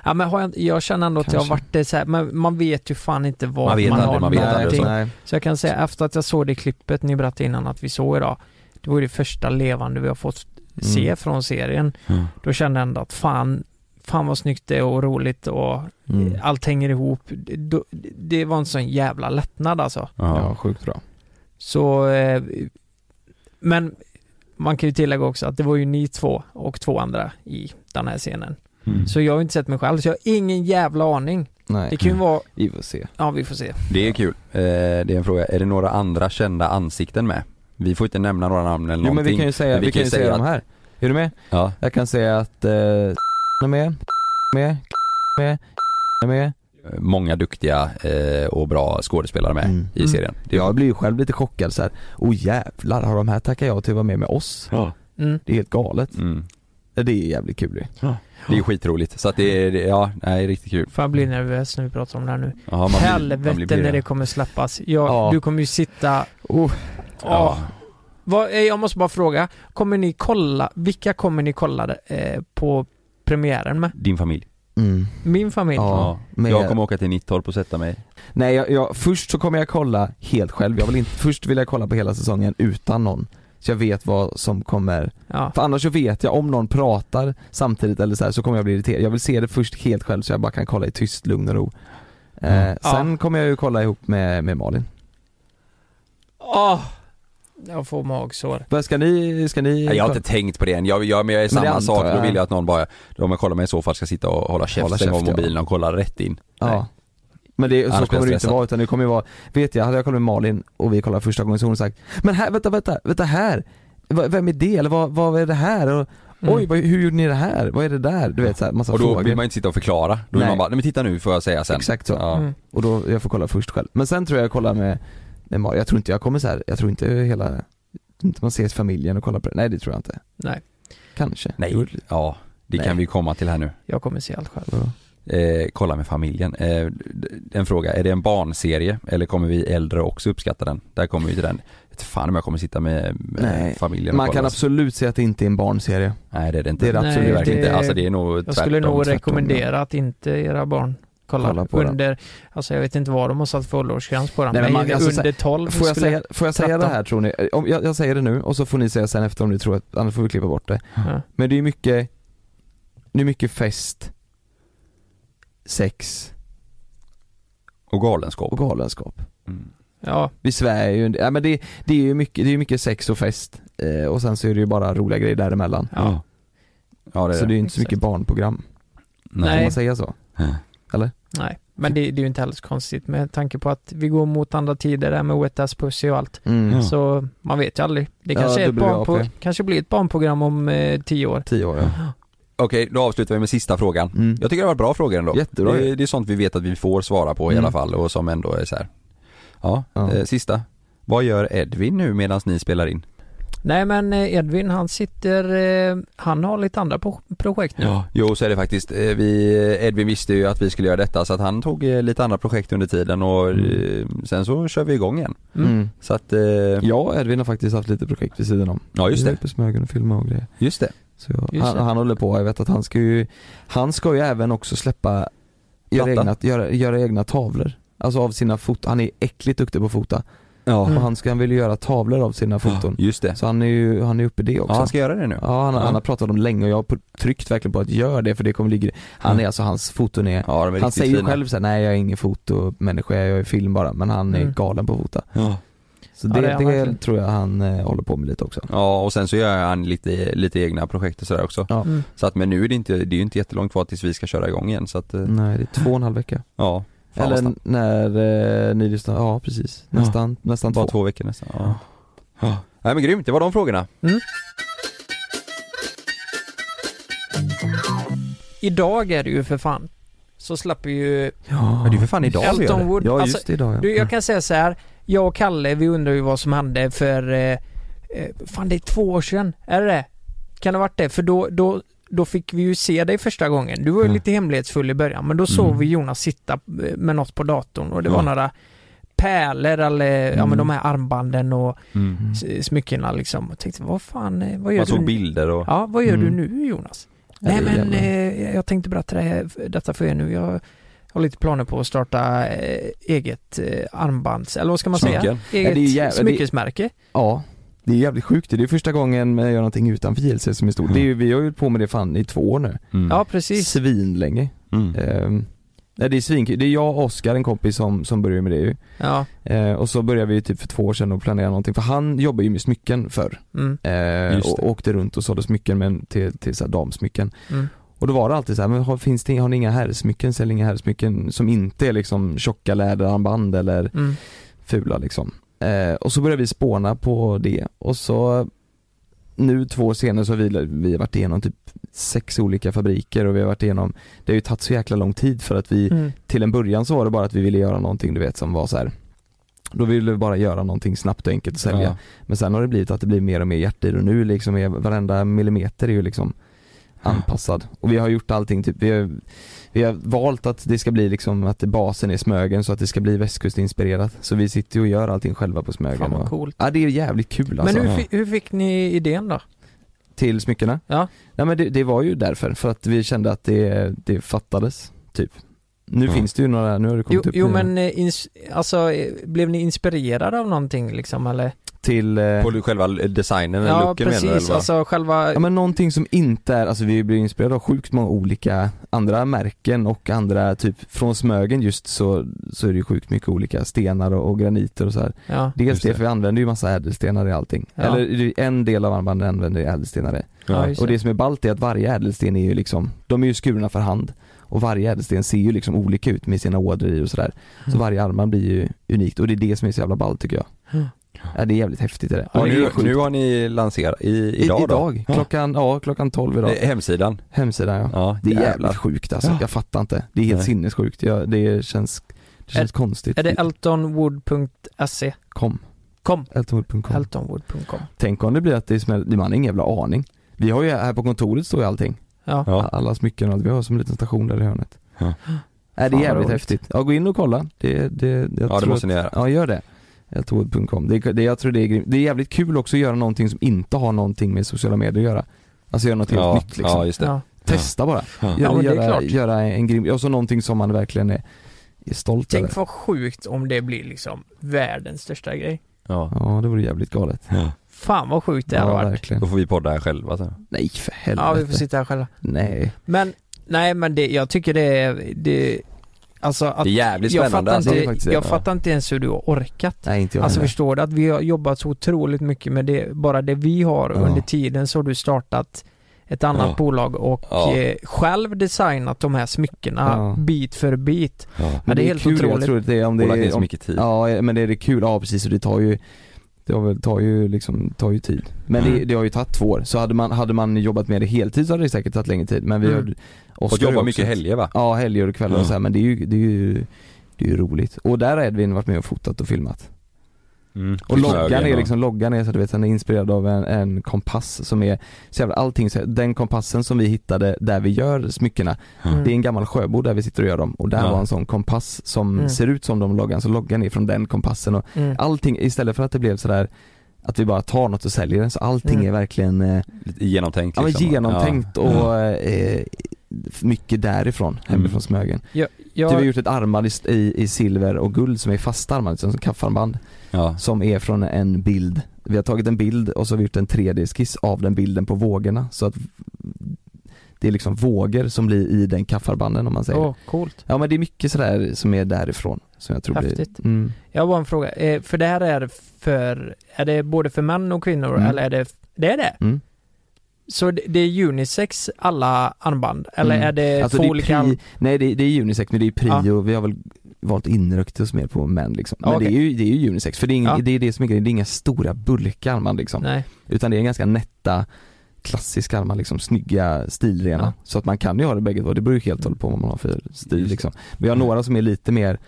Speaker 3: Ja men har jag, jag känner ändå att jag har
Speaker 1: Kanske.
Speaker 3: varit det så här, men man vet ju fan inte
Speaker 2: Man
Speaker 3: vad man,
Speaker 2: vet
Speaker 3: har
Speaker 2: aldrig, man vet
Speaker 3: någonting.
Speaker 2: aldrig. Så.
Speaker 1: Nej.
Speaker 3: Så jag kan säga efter att jag såg det klippet ni berättade innan att vi såg idag, det var ju det första levande vi har fått se
Speaker 1: Mm.
Speaker 3: från serien.
Speaker 2: Mm.
Speaker 3: Då kände jag ändå att fan, fan vad snyggt det är och roligt och
Speaker 1: Mm.
Speaker 3: allt hänger ihop. Det- då- Det var en sån jävla lättnad alltså.
Speaker 1: Ja,
Speaker 2: Ja.
Speaker 1: sjukt bra.
Speaker 3: Så, eh, men man kan ju tillägga också att det var ju ni två och två andra i den här scenen.
Speaker 2: Mm.
Speaker 3: Så jag har inte sett mig själv, så jag har ingen jävla aning.
Speaker 1: Nej.
Speaker 3: Det kan ju vara,
Speaker 1: Vi får se.
Speaker 3: ja vi får se.
Speaker 2: Det är kul. Eh, det är en fråga, är det några andra kända ansikten med? Vi får inte nämna några namn eller
Speaker 1: Jo men
Speaker 2: någonting.
Speaker 1: vi kan ju säga, vi kan ju säga, de
Speaker 2: att-
Speaker 1: här. Är du med?
Speaker 2: Ja.
Speaker 1: Jag kan säga att eh, är med, med, med, med.
Speaker 2: Många duktiga eh, och bra skådespelare med i serien.
Speaker 1: Jag blir ju själv lite chockad så här. oh jävlar har de här tackat ja till att vara med med oss?
Speaker 3: Mm.
Speaker 1: Det är helt galet.
Speaker 2: Mm.
Speaker 1: Det är jävligt kul ju.
Speaker 2: Det är skitroligt. Så att det är, det- ja, nej, det är riktigt kul.
Speaker 3: Fan jag blir nervös när vi pratar om det här nu.
Speaker 2: Ja, man blir-
Speaker 3: Helvete
Speaker 2: man blir pirrig.
Speaker 3: när det kommer släppas. Jag,
Speaker 2: Ja.
Speaker 3: Du kommer ju sitta...
Speaker 1: Oh.
Speaker 3: Ja. Vad, eh, jag måste bara fråga, kommer ni kolla, vilka kommer ni kolla eh, på premiären med?
Speaker 2: Din familj.
Speaker 1: Mm.
Speaker 3: Min familj?
Speaker 1: Ja. Men-
Speaker 2: Jag kommer åka till Nittorp och sätta mig.
Speaker 1: Nej, jag, jag, först så kommer jag kolla helt själv. Jag vill inte, först vill jag kolla på hela säsongen utan någon. Så jag vet vad som kommer. För annars så vet jag om någon pratar samtidigt eller så här, så kommer jag bli irriterad. Jag vill se det först helt själv så jag bara kan kolla i tyst, lugn och ro.
Speaker 2: Mm.
Speaker 1: Eh, sen kommer jag ju kolla ihop med, med Malin.
Speaker 3: Åh! jag får magsår.
Speaker 1: Vad ska ni, ska ni?
Speaker 2: Nej, jag har inte tänkt på det än. Jag, jag, men jag är
Speaker 1: Men det
Speaker 2: samma
Speaker 1: antar
Speaker 2: sak. Då
Speaker 1: jag.
Speaker 2: vill jag att någon bara, om jag kollar mig i så fall, ska sitta och hålla käften,
Speaker 1: Hålla
Speaker 2: stänga av
Speaker 1: käft, ja.
Speaker 2: mobilen och kolla rätt in.
Speaker 1: Ja. Men det, så
Speaker 2: Annars blir
Speaker 1: kommer
Speaker 2: jag
Speaker 1: det inte
Speaker 2: stressad.
Speaker 1: vara utan det kommer ju vara, vet jag, hade jag kollat med Malin och vi kollade första gången så hade hon sagt Men här, vänta, vänta, vänta här! Va- Vem är det? Eller vad, vad är det här? Och,
Speaker 3: Mm.
Speaker 1: Oj, vad, hur gjorde ni det här? Vad är det där? Du vet så här, massa
Speaker 2: Mm. Och då
Speaker 1: frågor.
Speaker 2: vill man ju inte sitta och förklara. Då vill
Speaker 1: Nej.
Speaker 2: man bara, nej men titta nu får jag säga sen.
Speaker 1: Exakt så.
Speaker 2: Ja.
Speaker 3: Mm.
Speaker 1: Och då, jag får kolla först själv. Men sen tror jag jag kollar med, med Malin, jag tror inte jag kommer så här, jag tror inte hela, inte man ses familjen och kollar på det. Nej det tror jag inte.
Speaker 3: Nej,
Speaker 1: Kanske.
Speaker 2: Nej, ja. Det
Speaker 1: Nej.
Speaker 2: kan vi komma till här nu.
Speaker 3: jag kommer se allt själv.
Speaker 2: Eh, kolla med familjen. Eh, d- en fråga, är det en barnserie eller kommer vi äldre också uppskatta den? Där kommer vi till den. Jag vet fan om jag kommer sitta med, med
Speaker 1: Nej.
Speaker 2: familjen och
Speaker 1: Man
Speaker 2: kolla.
Speaker 1: kan absolut säga att det inte är en barnserie.
Speaker 2: Nej det är det inte.
Speaker 1: Det är det
Speaker 3: Nej,
Speaker 1: absolut
Speaker 2: verkligen
Speaker 3: det-
Speaker 2: inte. Alltså det är nog
Speaker 3: Jag skulle
Speaker 2: tvärtom,
Speaker 3: nog
Speaker 2: tvärtom,
Speaker 3: rekommendera
Speaker 2: ja.
Speaker 3: att inte era barn kollar
Speaker 1: Kolla på den.
Speaker 3: under, alltså jag vet inte vad de har satt för åldersgräns på den,
Speaker 1: Nej,
Speaker 3: men,
Speaker 1: men man- alltså, så här,
Speaker 3: under 12
Speaker 1: Får jag,
Speaker 3: skulle
Speaker 1: säga, får jag säga det
Speaker 3: 13.
Speaker 1: här tror ni? Om, jag, jag säger det nu och så får ni säga sen efter om ni tror att, annars får vi klippa bort det.
Speaker 3: Ja.
Speaker 1: Men det är mycket, det är mycket fest, sex
Speaker 2: Och galenskap.
Speaker 1: och galenskap.
Speaker 3: Ja.
Speaker 1: Vi svär ju, en- ja, men det, det är ju mycket, det är ju mycket sex och fest eh, och sen så är det ju bara roliga grejer däremellan.
Speaker 2: Ja. Ja det är
Speaker 1: så det är
Speaker 2: det.
Speaker 1: ju inte så mycket barnprogram.
Speaker 2: Nej.
Speaker 1: Får man säga så?
Speaker 2: Nej.
Speaker 1: Eller?
Speaker 3: Nej, men det, det är ju inte alls konstigt med tanke på att vi går mot andra tider där med wet ass pussy och allt.
Speaker 1: Mm. Ja.
Speaker 3: Så man vet ju aldrig. Det
Speaker 1: Ja,
Speaker 3: kanske, är ett
Speaker 1: WAP.
Speaker 3: barnpro- kanske blir ett barnprogram om eh, tio år.
Speaker 1: Tio år ja.
Speaker 2: Okej, då avslutar vi med sista frågan.
Speaker 1: Mm.
Speaker 2: Jag tycker det var bra frågor ändå.
Speaker 1: Jättebra
Speaker 2: Det,
Speaker 1: ju.
Speaker 2: det är sånt vi vet att vi får svara på i
Speaker 1: Mm.
Speaker 2: alla fall och som ändå är så här. Ja, Eh, sista. Vad gör Edvin nu medan ni spelar in?
Speaker 3: Nej men eh, Edvin han sitter, eh, han har lite andra pro- projekt nu.
Speaker 2: Jo, så är det faktiskt. Eh, Vi, Edvin visste ju att vi skulle göra detta så att han tog eh, lite andra projekt under tiden och eh, sen så kör vi igång igen.
Speaker 1: Mm.
Speaker 2: Så att, eh,
Speaker 1: Jag och Edvin har faktiskt haft lite projekt vid sidan om.
Speaker 2: Ja, just
Speaker 1: Vi var
Speaker 2: det.
Speaker 1: uppe i Smögen och filmade och grejer.
Speaker 2: just det.
Speaker 1: Så jag,
Speaker 2: Just
Speaker 1: han,
Speaker 2: det.
Speaker 1: han håller på, jag vet att han ska ju, han ska ju även också släppa, göra
Speaker 2: Platta.
Speaker 1: egna, göra, göra egna tavlor. Alltså av sina foton, han är äckligt duktig på att fota.
Speaker 2: Ja.
Speaker 1: Och han, ska, han vill ju göra tavlor av sina foton.
Speaker 2: Just det.
Speaker 1: Så han är ju, han är uppe i det också.
Speaker 2: Ja, han ska göra det nu.
Speaker 1: Ja, han,
Speaker 2: Ja.
Speaker 1: han har pratat om det länge och jag har på- tryckt verkligen på att göra det för det kommer ligga Han är alltså, hans foton är,
Speaker 2: Ja, de är
Speaker 1: han
Speaker 2: riktigt
Speaker 1: säger ju
Speaker 2: fina.
Speaker 1: själv såhär, nej jag är ingen fotomänniska, jag är film bara, men han är
Speaker 2: Mm.
Speaker 1: galen på att fota.
Speaker 2: Ja.
Speaker 1: Så
Speaker 3: Ja,
Speaker 1: det,
Speaker 3: det är han
Speaker 1: det,
Speaker 3: verkligen.
Speaker 1: tror jag han eh, håller på med lite också.
Speaker 2: Ja och sen så gör han lite, lite egna projekt och sådär också.
Speaker 1: Ja. Mm.
Speaker 2: Så att men nu är det inte, det är ju inte jättelångt kvar tills vi ska köra igång igen så att eh,
Speaker 1: Nej, det är två och en halv vecka.
Speaker 2: ja. Fan, vad
Speaker 1: Eller
Speaker 2: snabbt.
Speaker 1: när eh, ni lyssnar, ja precis. Nästan, nästan
Speaker 2: Bara
Speaker 1: två.
Speaker 2: två veckor nästan. Ja. Ja. Nej men grymt, det var de frågorna.
Speaker 3: Idag är det ju för fan. Så släpper ju
Speaker 1: Ja,
Speaker 2: det är för fan idag vi gör
Speaker 3: Elton
Speaker 2: det.
Speaker 3: Wood.
Speaker 1: Ja,
Speaker 3: Alltså,
Speaker 1: just det, idag ja.
Speaker 3: Du, jag kan säga så här. Jag och Kalle, vi undrar ju vad som hände för... Eh, eh, fan, det är två år sedan. Är det det Kan det ha varit det? För då, då, då fick vi ju se dig första gången. Du var ju lite hemlighetsfull i början, men då såg vi Jonas sitta eh, med något på datorn och det var
Speaker 8: Ja.
Speaker 3: några pärlor eller ja, men
Speaker 8: Mm.
Speaker 3: de här armbanden och
Speaker 2: Mm.
Speaker 3: s- smyckena liksom. Och tänkte, vad fan, eh, vad gör
Speaker 2: Man
Speaker 3: du
Speaker 2: såg
Speaker 3: nu?
Speaker 2: bilder och
Speaker 3: Ja, vad gör
Speaker 2: Mm.
Speaker 3: du nu Jonas?
Speaker 2: Ja,
Speaker 3: Nej
Speaker 2: det är
Speaker 3: men
Speaker 2: jävla-
Speaker 3: eh, jag tänkte berätta det här, detta för er nu. Jag har lite planer på att starta eh, eget eh, armbands, eller vad ska man säga?
Speaker 1: Smycken. Ja,
Speaker 3: Eget
Speaker 1: det är ju jävla- det- Mm.
Speaker 3: smyckesmärke.
Speaker 1: Ja, det är jävligt sjukt. Det är första gången jag gör någonting utanför JLC som är stort. Det är, ju- vi har ju hållit på med det fan i två år nu.
Speaker 3: Ja precis.
Speaker 1: Svinlänge.
Speaker 2: Eh,
Speaker 1: Ehm, nej, det är svinkul. Det är jag och Oskar, en kompis som, som börjar med det ju.
Speaker 3: Ja.
Speaker 1: Eh, och så började vi typ för två år sedan att planera någonting, för han jobbar ju med smycken förr.
Speaker 3: Mm.
Speaker 1: Eh,
Speaker 2: Just det.
Speaker 1: och åkte runt och sålde smycken men till, till så här damsmycken.
Speaker 3: Mm.
Speaker 1: Och då var det alltid så här, men har, finns det, har ni inga herrsmycken, säljer inga herrsmycken som inte är liksom tjocka läderarmband eller
Speaker 3: Mm.
Speaker 1: fula liksom. Eh, och så började vi spåna på det och så nu två år senare så har vi, vi har varit igenom typ sex olika fabriker och vi har varit igenom, det har ju tagit så jäkla lång tid för att vi,
Speaker 3: Mm.
Speaker 1: till en början så var det bara att vi ville göra någonting du vet som var så här. Då ville vi bara göra någonting snabbt och enkelt och sälja.
Speaker 2: Ja.
Speaker 1: Men sen har det blivit att det blir mer och mer hjärta i det och nu liksom är varenda millimeter är ju liksom anpassad. Och vi har gjort allting, typ, vi, har, vi har valt att det ska bli liksom att basen är Smögen så att det ska bli västkustinspirerat. Så vi sitter ju och gör allting själva på Smögen.
Speaker 3: Fan, vad
Speaker 1: och-
Speaker 3: coolt.
Speaker 1: Ja det är jävligt kul alltså.
Speaker 3: Men hur, fi- hur fick ni idén då?
Speaker 1: Till smyckena?
Speaker 3: Ja.
Speaker 1: Nej men det, det var ju därför, för att vi kände att det, det fattades, typ. Nu
Speaker 3: Ja.
Speaker 1: finns det ju några, nu har det
Speaker 3: Jo,
Speaker 1: kommit upp
Speaker 3: jo
Speaker 1: nya.
Speaker 3: men eh, ins- alltså, eh, blev ni inspirerade av någonting liksom eller?
Speaker 1: Till... Eh...
Speaker 2: På själva designen eller
Speaker 3: Ja
Speaker 2: looken menar du?
Speaker 3: precis,
Speaker 2: eller vad?
Speaker 3: alltså själva
Speaker 1: Ja men någonting som inte är, alltså vi blir inspirerade av sjukt många olika andra märken och andra, typ från Smögen just så, så är det ju sjukt mycket olika stenar och, och graniter och så här.
Speaker 3: Ja.
Speaker 1: Dels
Speaker 3: Just
Speaker 1: det,
Speaker 3: det.
Speaker 1: för vi använder ju massa ädelstenar i allting.
Speaker 3: Ja.
Speaker 1: Eller det är en del av armbanden använder ju ädelstenar i.
Speaker 3: Ja, just det.
Speaker 1: och det som är ballt är att varje ädelsten är ju liksom, de är ju skurna för hand och varje ädelsten ser ju liksom olika ut med sina ådror i och sådär. Så
Speaker 3: Mm.
Speaker 1: varje armband blir ju unikt och det är det som är så jävla ballt tycker jag.
Speaker 3: Mm.
Speaker 1: Ja, det är jävligt häftigt det där.
Speaker 2: Ja,
Speaker 1: Och det är
Speaker 2: nu,
Speaker 1: sjukt.
Speaker 2: nu har ni lanserat, i,
Speaker 1: I-
Speaker 2: idag,
Speaker 1: idag.
Speaker 2: då?
Speaker 1: Klockan, ja, klockan 12 idag.
Speaker 2: Eh, Hemsidan?
Speaker 1: Hemsidan ja. Det är jävligt sjukt alltså,
Speaker 2: Ja.
Speaker 1: jag fattar inte. Det är helt
Speaker 2: Nej.
Speaker 1: sinnessjukt. Jag, det känns, det känns
Speaker 3: Är-
Speaker 1: konstigt.
Speaker 3: Är det eltonwood.se?
Speaker 1: Kom.
Speaker 3: Kom.
Speaker 1: Eltonwood.com.
Speaker 3: Eltonwood.com
Speaker 1: Tänk om det blir att det smäller, man har ingen jävla aning. Vi har ju, här på kontoret står ju allting.
Speaker 3: Ja.
Speaker 1: Alla smycken och allt. Vi har som en liten station där i hörnet.
Speaker 2: Ja.
Speaker 1: Äh,
Speaker 2: Fan,
Speaker 1: det är
Speaker 2: vad
Speaker 1: jävligt
Speaker 2: roligt.
Speaker 1: häftigt. Ja, gå in och kolla. Det, det, jag
Speaker 2: Ja, det
Speaker 1: tror
Speaker 2: måste
Speaker 1: att,
Speaker 2: ni göra.
Speaker 1: Ja, gör det. Eltonwood.com. Det, det, jag tror det är grymt. Det är jävligt kul också att göra någonting som inte har någonting med sociala medier att göra. Alltså göra något helt
Speaker 2: Ja,
Speaker 1: nytt liksom.
Speaker 2: ja, just det. Ja.
Speaker 1: Testa bara.
Speaker 2: Ja.
Speaker 1: Gör-
Speaker 2: Ja, men det är
Speaker 1: göra,
Speaker 2: klart.
Speaker 1: göra en grym, och så någonting som man verkligen är, är stolt över.
Speaker 3: Tänk vad sjukt om det blir liksom världens största grej.
Speaker 2: Ja.
Speaker 1: ja, det vore jävligt galet.
Speaker 3: Fan vad sjukt det hade varit.
Speaker 1: verkligen.
Speaker 2: Då får vi podda här själva sen.
Speaker 1: Nej, för helvete.
Speaker 3: Ja vi får sitta här själva.
Speaker 1: Nej.
Speaker 3: Men, nej men det, jag tycker det är, det, alltså att,
Speaker 2: Det är jävligt
Speaker 3: jag
Speaker 2: spännande,
Speaker 3: fattar
Speaker 2: alltså. Det är
Speaker 3: inte,
Speaker 2: faktiskt det,
Speaker 3: jag
Speaker 2: ja.
Speaker 3: fattar inte ens hur du har orkat.
Speaker 1: Nej, inte jag
Speaker 3: Alltså
Speaker 1: heller.
Speaker 3: förstår du att vi har jobbat så otroligt mycket med det, bara det vi har
Speaker 1: Ja.
Speaker 3: under tiden så har du startat ett annat
Speaker 1: Ja.
Speaker 3: bolag och
Speaker 1: Ja.
Speaker 3: eh, själv designat de här smyckena
Speaker 1: Ja.
Speaker 3: bit för bit.
Speaker 1: Men
Speaker 3: det är helt
Speaker 1: kul,
Speaker 3: otroligt.
Speaker 1: Jag tror det är om det
Speaker 2: Och lagt
Speaker 1: är,
Speaker 2: ner så
Speaker 1: om,
Speaker 2: mycket tid.
Speaker 1: Ja, men det är det kul. Ja, precis. Och det tar ju det har väl, tar ju liksom, tar ju tid. Men det,
Speaker 2: Mm.
Speaker 1: det har ju tagit två år. Så hade man, hade man jobbat med det heltid så hade det säkert tagit längre tid. Men vi
Speaker 2: Mm.
Speaker 1: har
Speaker 2: Och
Speaker 1: Oscar har ju
Speaker 2: jobba
Speaker 1: också-
Speaker 2: mycket helger va?
Speaker 1: Ja, helger och kvällar och
Speaker 2: Ja.
Speaker 1: så här, men det är ju, det är ju, det är ju roligt. Och där har Edvin varit med och fotat och filmat. Mm. Och loggan är liksom, loggan är så att du vet, den är inspirerad av en, en kompass som är, så jävla, allting, så, den kompassen som vi hittade där vi gör smyckena,
Speaker 2: Mm.
Speaker 1: det är en gammal sjöbo där vi sitter och gör dem och där
Speaker 2: Ja.
Speaker 1: var en sån kompass som
Speaker 2: Mm.
Speaker 1: ser ut som de loggan, så loggan är från den kompassen och
Speaker 2: Mm.
Speaker 1: allting, istället för att det blev sådär att vi bara tar något och säljer den, så allting
Speaker 2: Mm.
Speaker 1: är verkligen eh,
Speaker 2: Lite genomtänkt
Speaker 1: ja, men
Speaker 2: liksom.
Speaker 1: genomtänkt
Speaker 2: Ja. Mm.
Speaker 1: och eh, mycket därifrån, hemifrån Smögen.
Speaker 3: Jag,
Speaker 1: Typ,
Speaker 3: jag,
Speaker 1: vi har gjort ett armband i, i, i silver och guld som är fastarmad, som kaffarmband. Som är från en bild. Vi har tagit en bild och så har vi gjort en 3D-skiss av den bilden på vågorna. Så att det är liksom vågor som blir i den kaffarbanden om man säger.
Speaker 3: Åh, coolt.
Speaker 1: Ja men det är mycket sådär som är därifrån. Som jag tror
Speaker 3: Häftigt.
Speaker 1: blir... Mm.
Speaker 3: jag har bara en fråga, Eh, för det här är för, är det både för män och kvinnor
Speaker 1: Mm.
Speaker 3: eller är det, det är det?
Speaker 1: Mm.
Speaker 3: Så det, det är unisex alla armband, eller
Speaker 1: Mm.
Speaker 3: är det
Speaker 1: Alltså,
Speaker 3: två
Speaker 1: det är
Speaker 3: olika?
Speaker 1: pri- Nej det är, det är unisex men det är prio, vi har väl valt inrökt oss mer på män liksom. Men
Speaker 3: Ja, okej.
Speaker 1: det, är ju, det är ju unisex för det är, ing,
Speaker 3: Ja.
Speaker 1: det är det som är grejen, det är inga stora bulkar man liksom.
Speaker 3: Nej.
Speaker 1: Utan det är ganska nätta klassiska armar liksom, snygga, stilrena.
Speaker 3: Ja.
Speaker 1: Så att man kan ju ha det bägge två, det beror ju helt och hållet på vad man har för stil liksom. Vi
Speaker 3: Mm.
Speaker 1: har några som är lite mer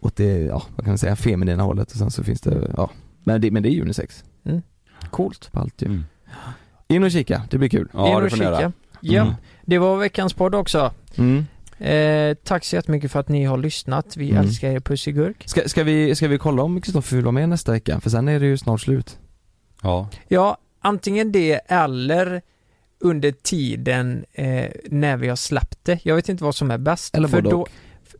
Speaker 1: åt det, ja vad kan man säga, feminina hållet och sen så finns det, ja. Men det, men det är unisex.
Speaker 3: Mm. Coolt.
Speaker 1: På allt ju.
Speaker 2: Mm.
Speaker 1: In och kika, det blir kul.
Speaker 3: In och kika. Ja,
Speaker 1: Mm.
Speaker 3: det var veckans podd också.
Speaker 1: Mm.
Speaker 3: Eh, tack så jättemycket för att ni har lyssnat. Vi
Speaker 1: Mm.
Speaker 3: älskar er puss i gurk.
Speaker 1: Ska, ska, vi, ska vi kolla om Kristoffer vill vara med nästa vecka? För sen är det ju snart slut.
Speaker 2: Ja.
Speaker 3: Ja, antingen det eller under tiden eh, när vi har släppt det. Jag vet inte vad som är bäst.
Speaker 1: Eller
Speaker 3: för
Speaker 1: både
Speaker 3: då-
Speaker 1: och. Mm.
Speaker 3: f-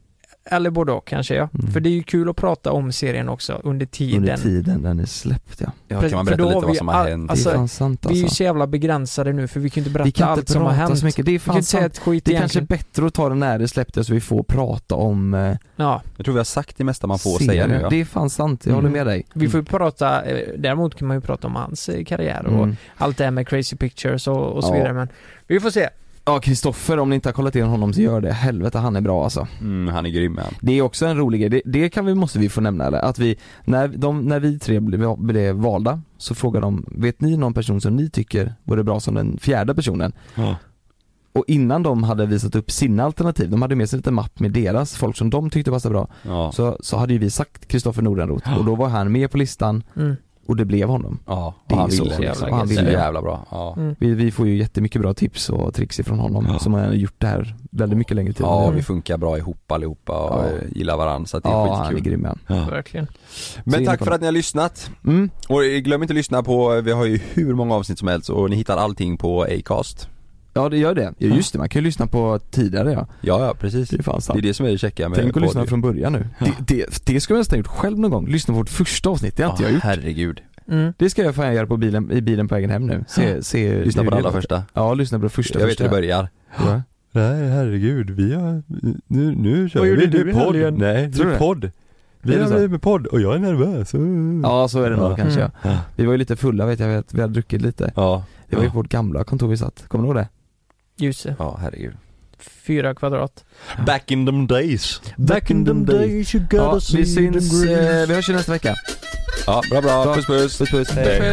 Speaker 3: Eller både och kanske ja. För det är ju kul att prata om serien också under tiden.
Speaker 1: Under tiden den är släppt ja.
Speaker 3: Pre- för då vi all- Alltså,
Speaker 1: det är fan sant
Speaker 3: Vi är ju
Speaker 1: alltså.
Speaker 3: så jävla begränsade nu för vi kan ju inte berätta
Speaker 1: Vi kan inte
Speaker 3: allt som har
Speaker 1: prata
Speaker 3: hänt.
Speaker 1: så mycket, det är
Speaker 3: vi kan
Speaker 1: fan
Speaker 3: inte säga
Speaker 1: sant.
Speaker 3: ett skit
Speaker 1: Det är kanske
Speaker 3: egentligen.
Speaker 1: bättre att ta den när det släpptes så vi får prata om eh,
Speaker 3: Ja.
Speaker 2: Jag tror vi har sagt det mesta man får
Speaker 1: serien.
Speaker 2: säga nu ja.
Speaker 1: Det är fan sant, jag håller med dig.
Speaker 3: Mm. Vi får ju prata, eh, däremot kan man ju prata om hans eh, karriär och
Speaker 1: Mm.
Speaker 3: allt det här med crazy pictures och, och så
Speaker 1: Ja.
Speaker 3: vidare men vi får se.
Speaker 1: Ja, Kristoffer, om ni inte har kollat in honom så gör det. Helvete, han är bra alltså.
Speaker 2: Mm, han är grym han.
Speaker 1: Det är också en rolig grej, det, det kan vi, måste vi få nämna eller? Att vi, när, de, när vi tre blev, blev valda så frågade de, vet ni någon person som ni tycker vore bra som den fjärde personen?
Speaker 2: Ja.
Speaker 1: Och innan de hade visat upp sina alternativ, de hade med sig lite mapp med deras folk som de tyckte passade bra,
Speaker 2: Ja.
Speaker 1: så, så hade ju vi sagt Kristoffer Nordenroth och då var han med på listan
Speaker 3: Mm.
Speaker 1: och det blev honom.
Speaker 2: Ja,
Speaker 1: Det
Speaker 2: och
Speaker 1: är
Speaker 2: han
Speaker 1: så
Speaker 2: ville
Speaker 1: jävla Mm.
Speaker 2: liksom.
Speaker 1: gött.
Speaker 2: han ville jävla bra. Ja.
Speaker 1: Vi, vi får ju jättemycket bra tips och tricks ifrån honom som har gjort det här väldigt mycket längre tid.
Speaker 2: Ja, vi funkar bra ihop allihopa och
Speaker 1: Mm. Ja.
Speaker 2: eh, gillar varandra så att det är
Speaker 1: Ja,
Speaker 2: skitkul.
Speaker 1: han är grym, ja.
Speaker 3: Verkligen.
Speaker 1: Så
Speaker 2: Men
Speaker 1: in
Speaker 2: tack
Speaker 1: på
Speaker 2: för
Speaker 1: det.
Speaker 2: att ni har lyssnat.
Speaker 1: Mm.
Speaker 2: Och eh, glöm inte att lyssna på, eh, vi har ju hur många avsnitt som helst och ni hittar allting på Acast.
Speaker 1: Ja det gör det, ja, just det man kan ju lyssna på tidigare ja.
Speaker 2: Ja, ja precis.
Speaker 1: Det är fan sant.
Speaker 2: Det är det som är det käcka med
Speaker 1: Tänk att
Speaker 2: podd.
Speaker 1: lyssna från början nu. Det, det, det skulle jag nästan ha gjort själv någon gång, lyssna på vårt första avsnitt, det har inte
Speaker 2: Ja,
Speaker 1: jag gjort.
Speaker 2: herregud.
Speaker 3: Mm.
Speaker 1: Det ska jag fan göra på bilen, i bilen på vägen hem nu. Se, se
Speaker 2: Lyssna
Speaker 1: hur
Speaker 2: på det allra
Speaker 1: låter.
Speaker 2: första.
Speaker 1: Ja, lyssna på det första
Speaker 2: Jag vet
Speaker 1: första.
Speaker 2: hur det börjar.
Speaker 1: Ja.
Speaker 2: Nej herregud, vi har, nu, nu
Speaker 1: kör Vad vi. gjorde Det är du i podd. helgen? Nej, det är podd. Vi har blivit
Speaker 2: med podd och jag är nervös.
Speaker 1: Ja så är det nog
Speaker 2: Ja.
Speaker 1: kanske
Speaker 2: Mm.
Speaker 1: ja. Vi var ju lite fulla vet jag, vet, vi hade druckit lite.
Speaker 2: Ja.
Speaker 1: Det var ju
Speaker 2: Ja.
Speaker 1: på vårt gamla kontor vi satt, kommer du ihåg det?
Speaker 3: Ljuse.
Speaker 2: Ja, herregud.
Speaker 3: Fyra kvadrat.
Speaker 2: Back in them days.
Speaker 3: Back in them days you gotta
Speaker 1: ja, vi
Speaker 3: see them
Speaker 1: syns,
Speaker 3: grace.
Speaker 1: eh, vi hörs ju nästa vecka.
Speaker 2: Ja, bra bra. Puss puss.
Speaker 1: Puss puss.
Speaker 2: Hej.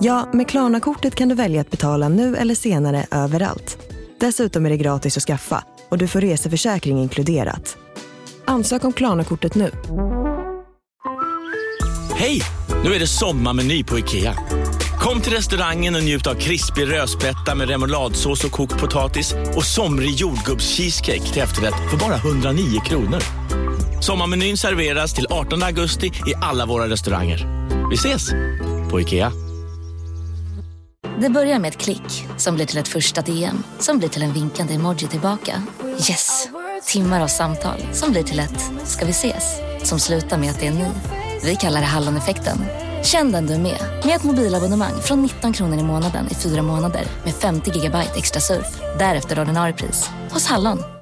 Speaker 9: Ja, med Klarna-kortet kan du välja att betala nu eller senare överallt. Dessutom är det gratis att skaffa och du får reseförsäkring inkluderat. Ansök om Klarna-kortet nu.
Speaker 10: Hej! Nu är det sommarmeny på IKEA. Kom till restaurangen och njut av krispig rödspätta med remouladsås och kokt potatis och somrig jordgubbscheesecake till efterrätt för bara 109 kronor. Sommarmenyn serveras till 18 augusti i alla våra restauranger. Vi ses! På IKEA.
Speaker 11: Det börjar med ett klick som blir till ett första DM som blir till en vinkande emoji tillbaka. Yes! Timmar av samtal som blir till ett “ska vi ses?” som slutar med att det är ni. Vi kallar det Halloneffekten. Känn den du är med, med ett mobilabonnemang från 19 kronor i månaden i fyra månader med 50 gigabyte extra surf. Därefter ordinarie pris, hos Hallon.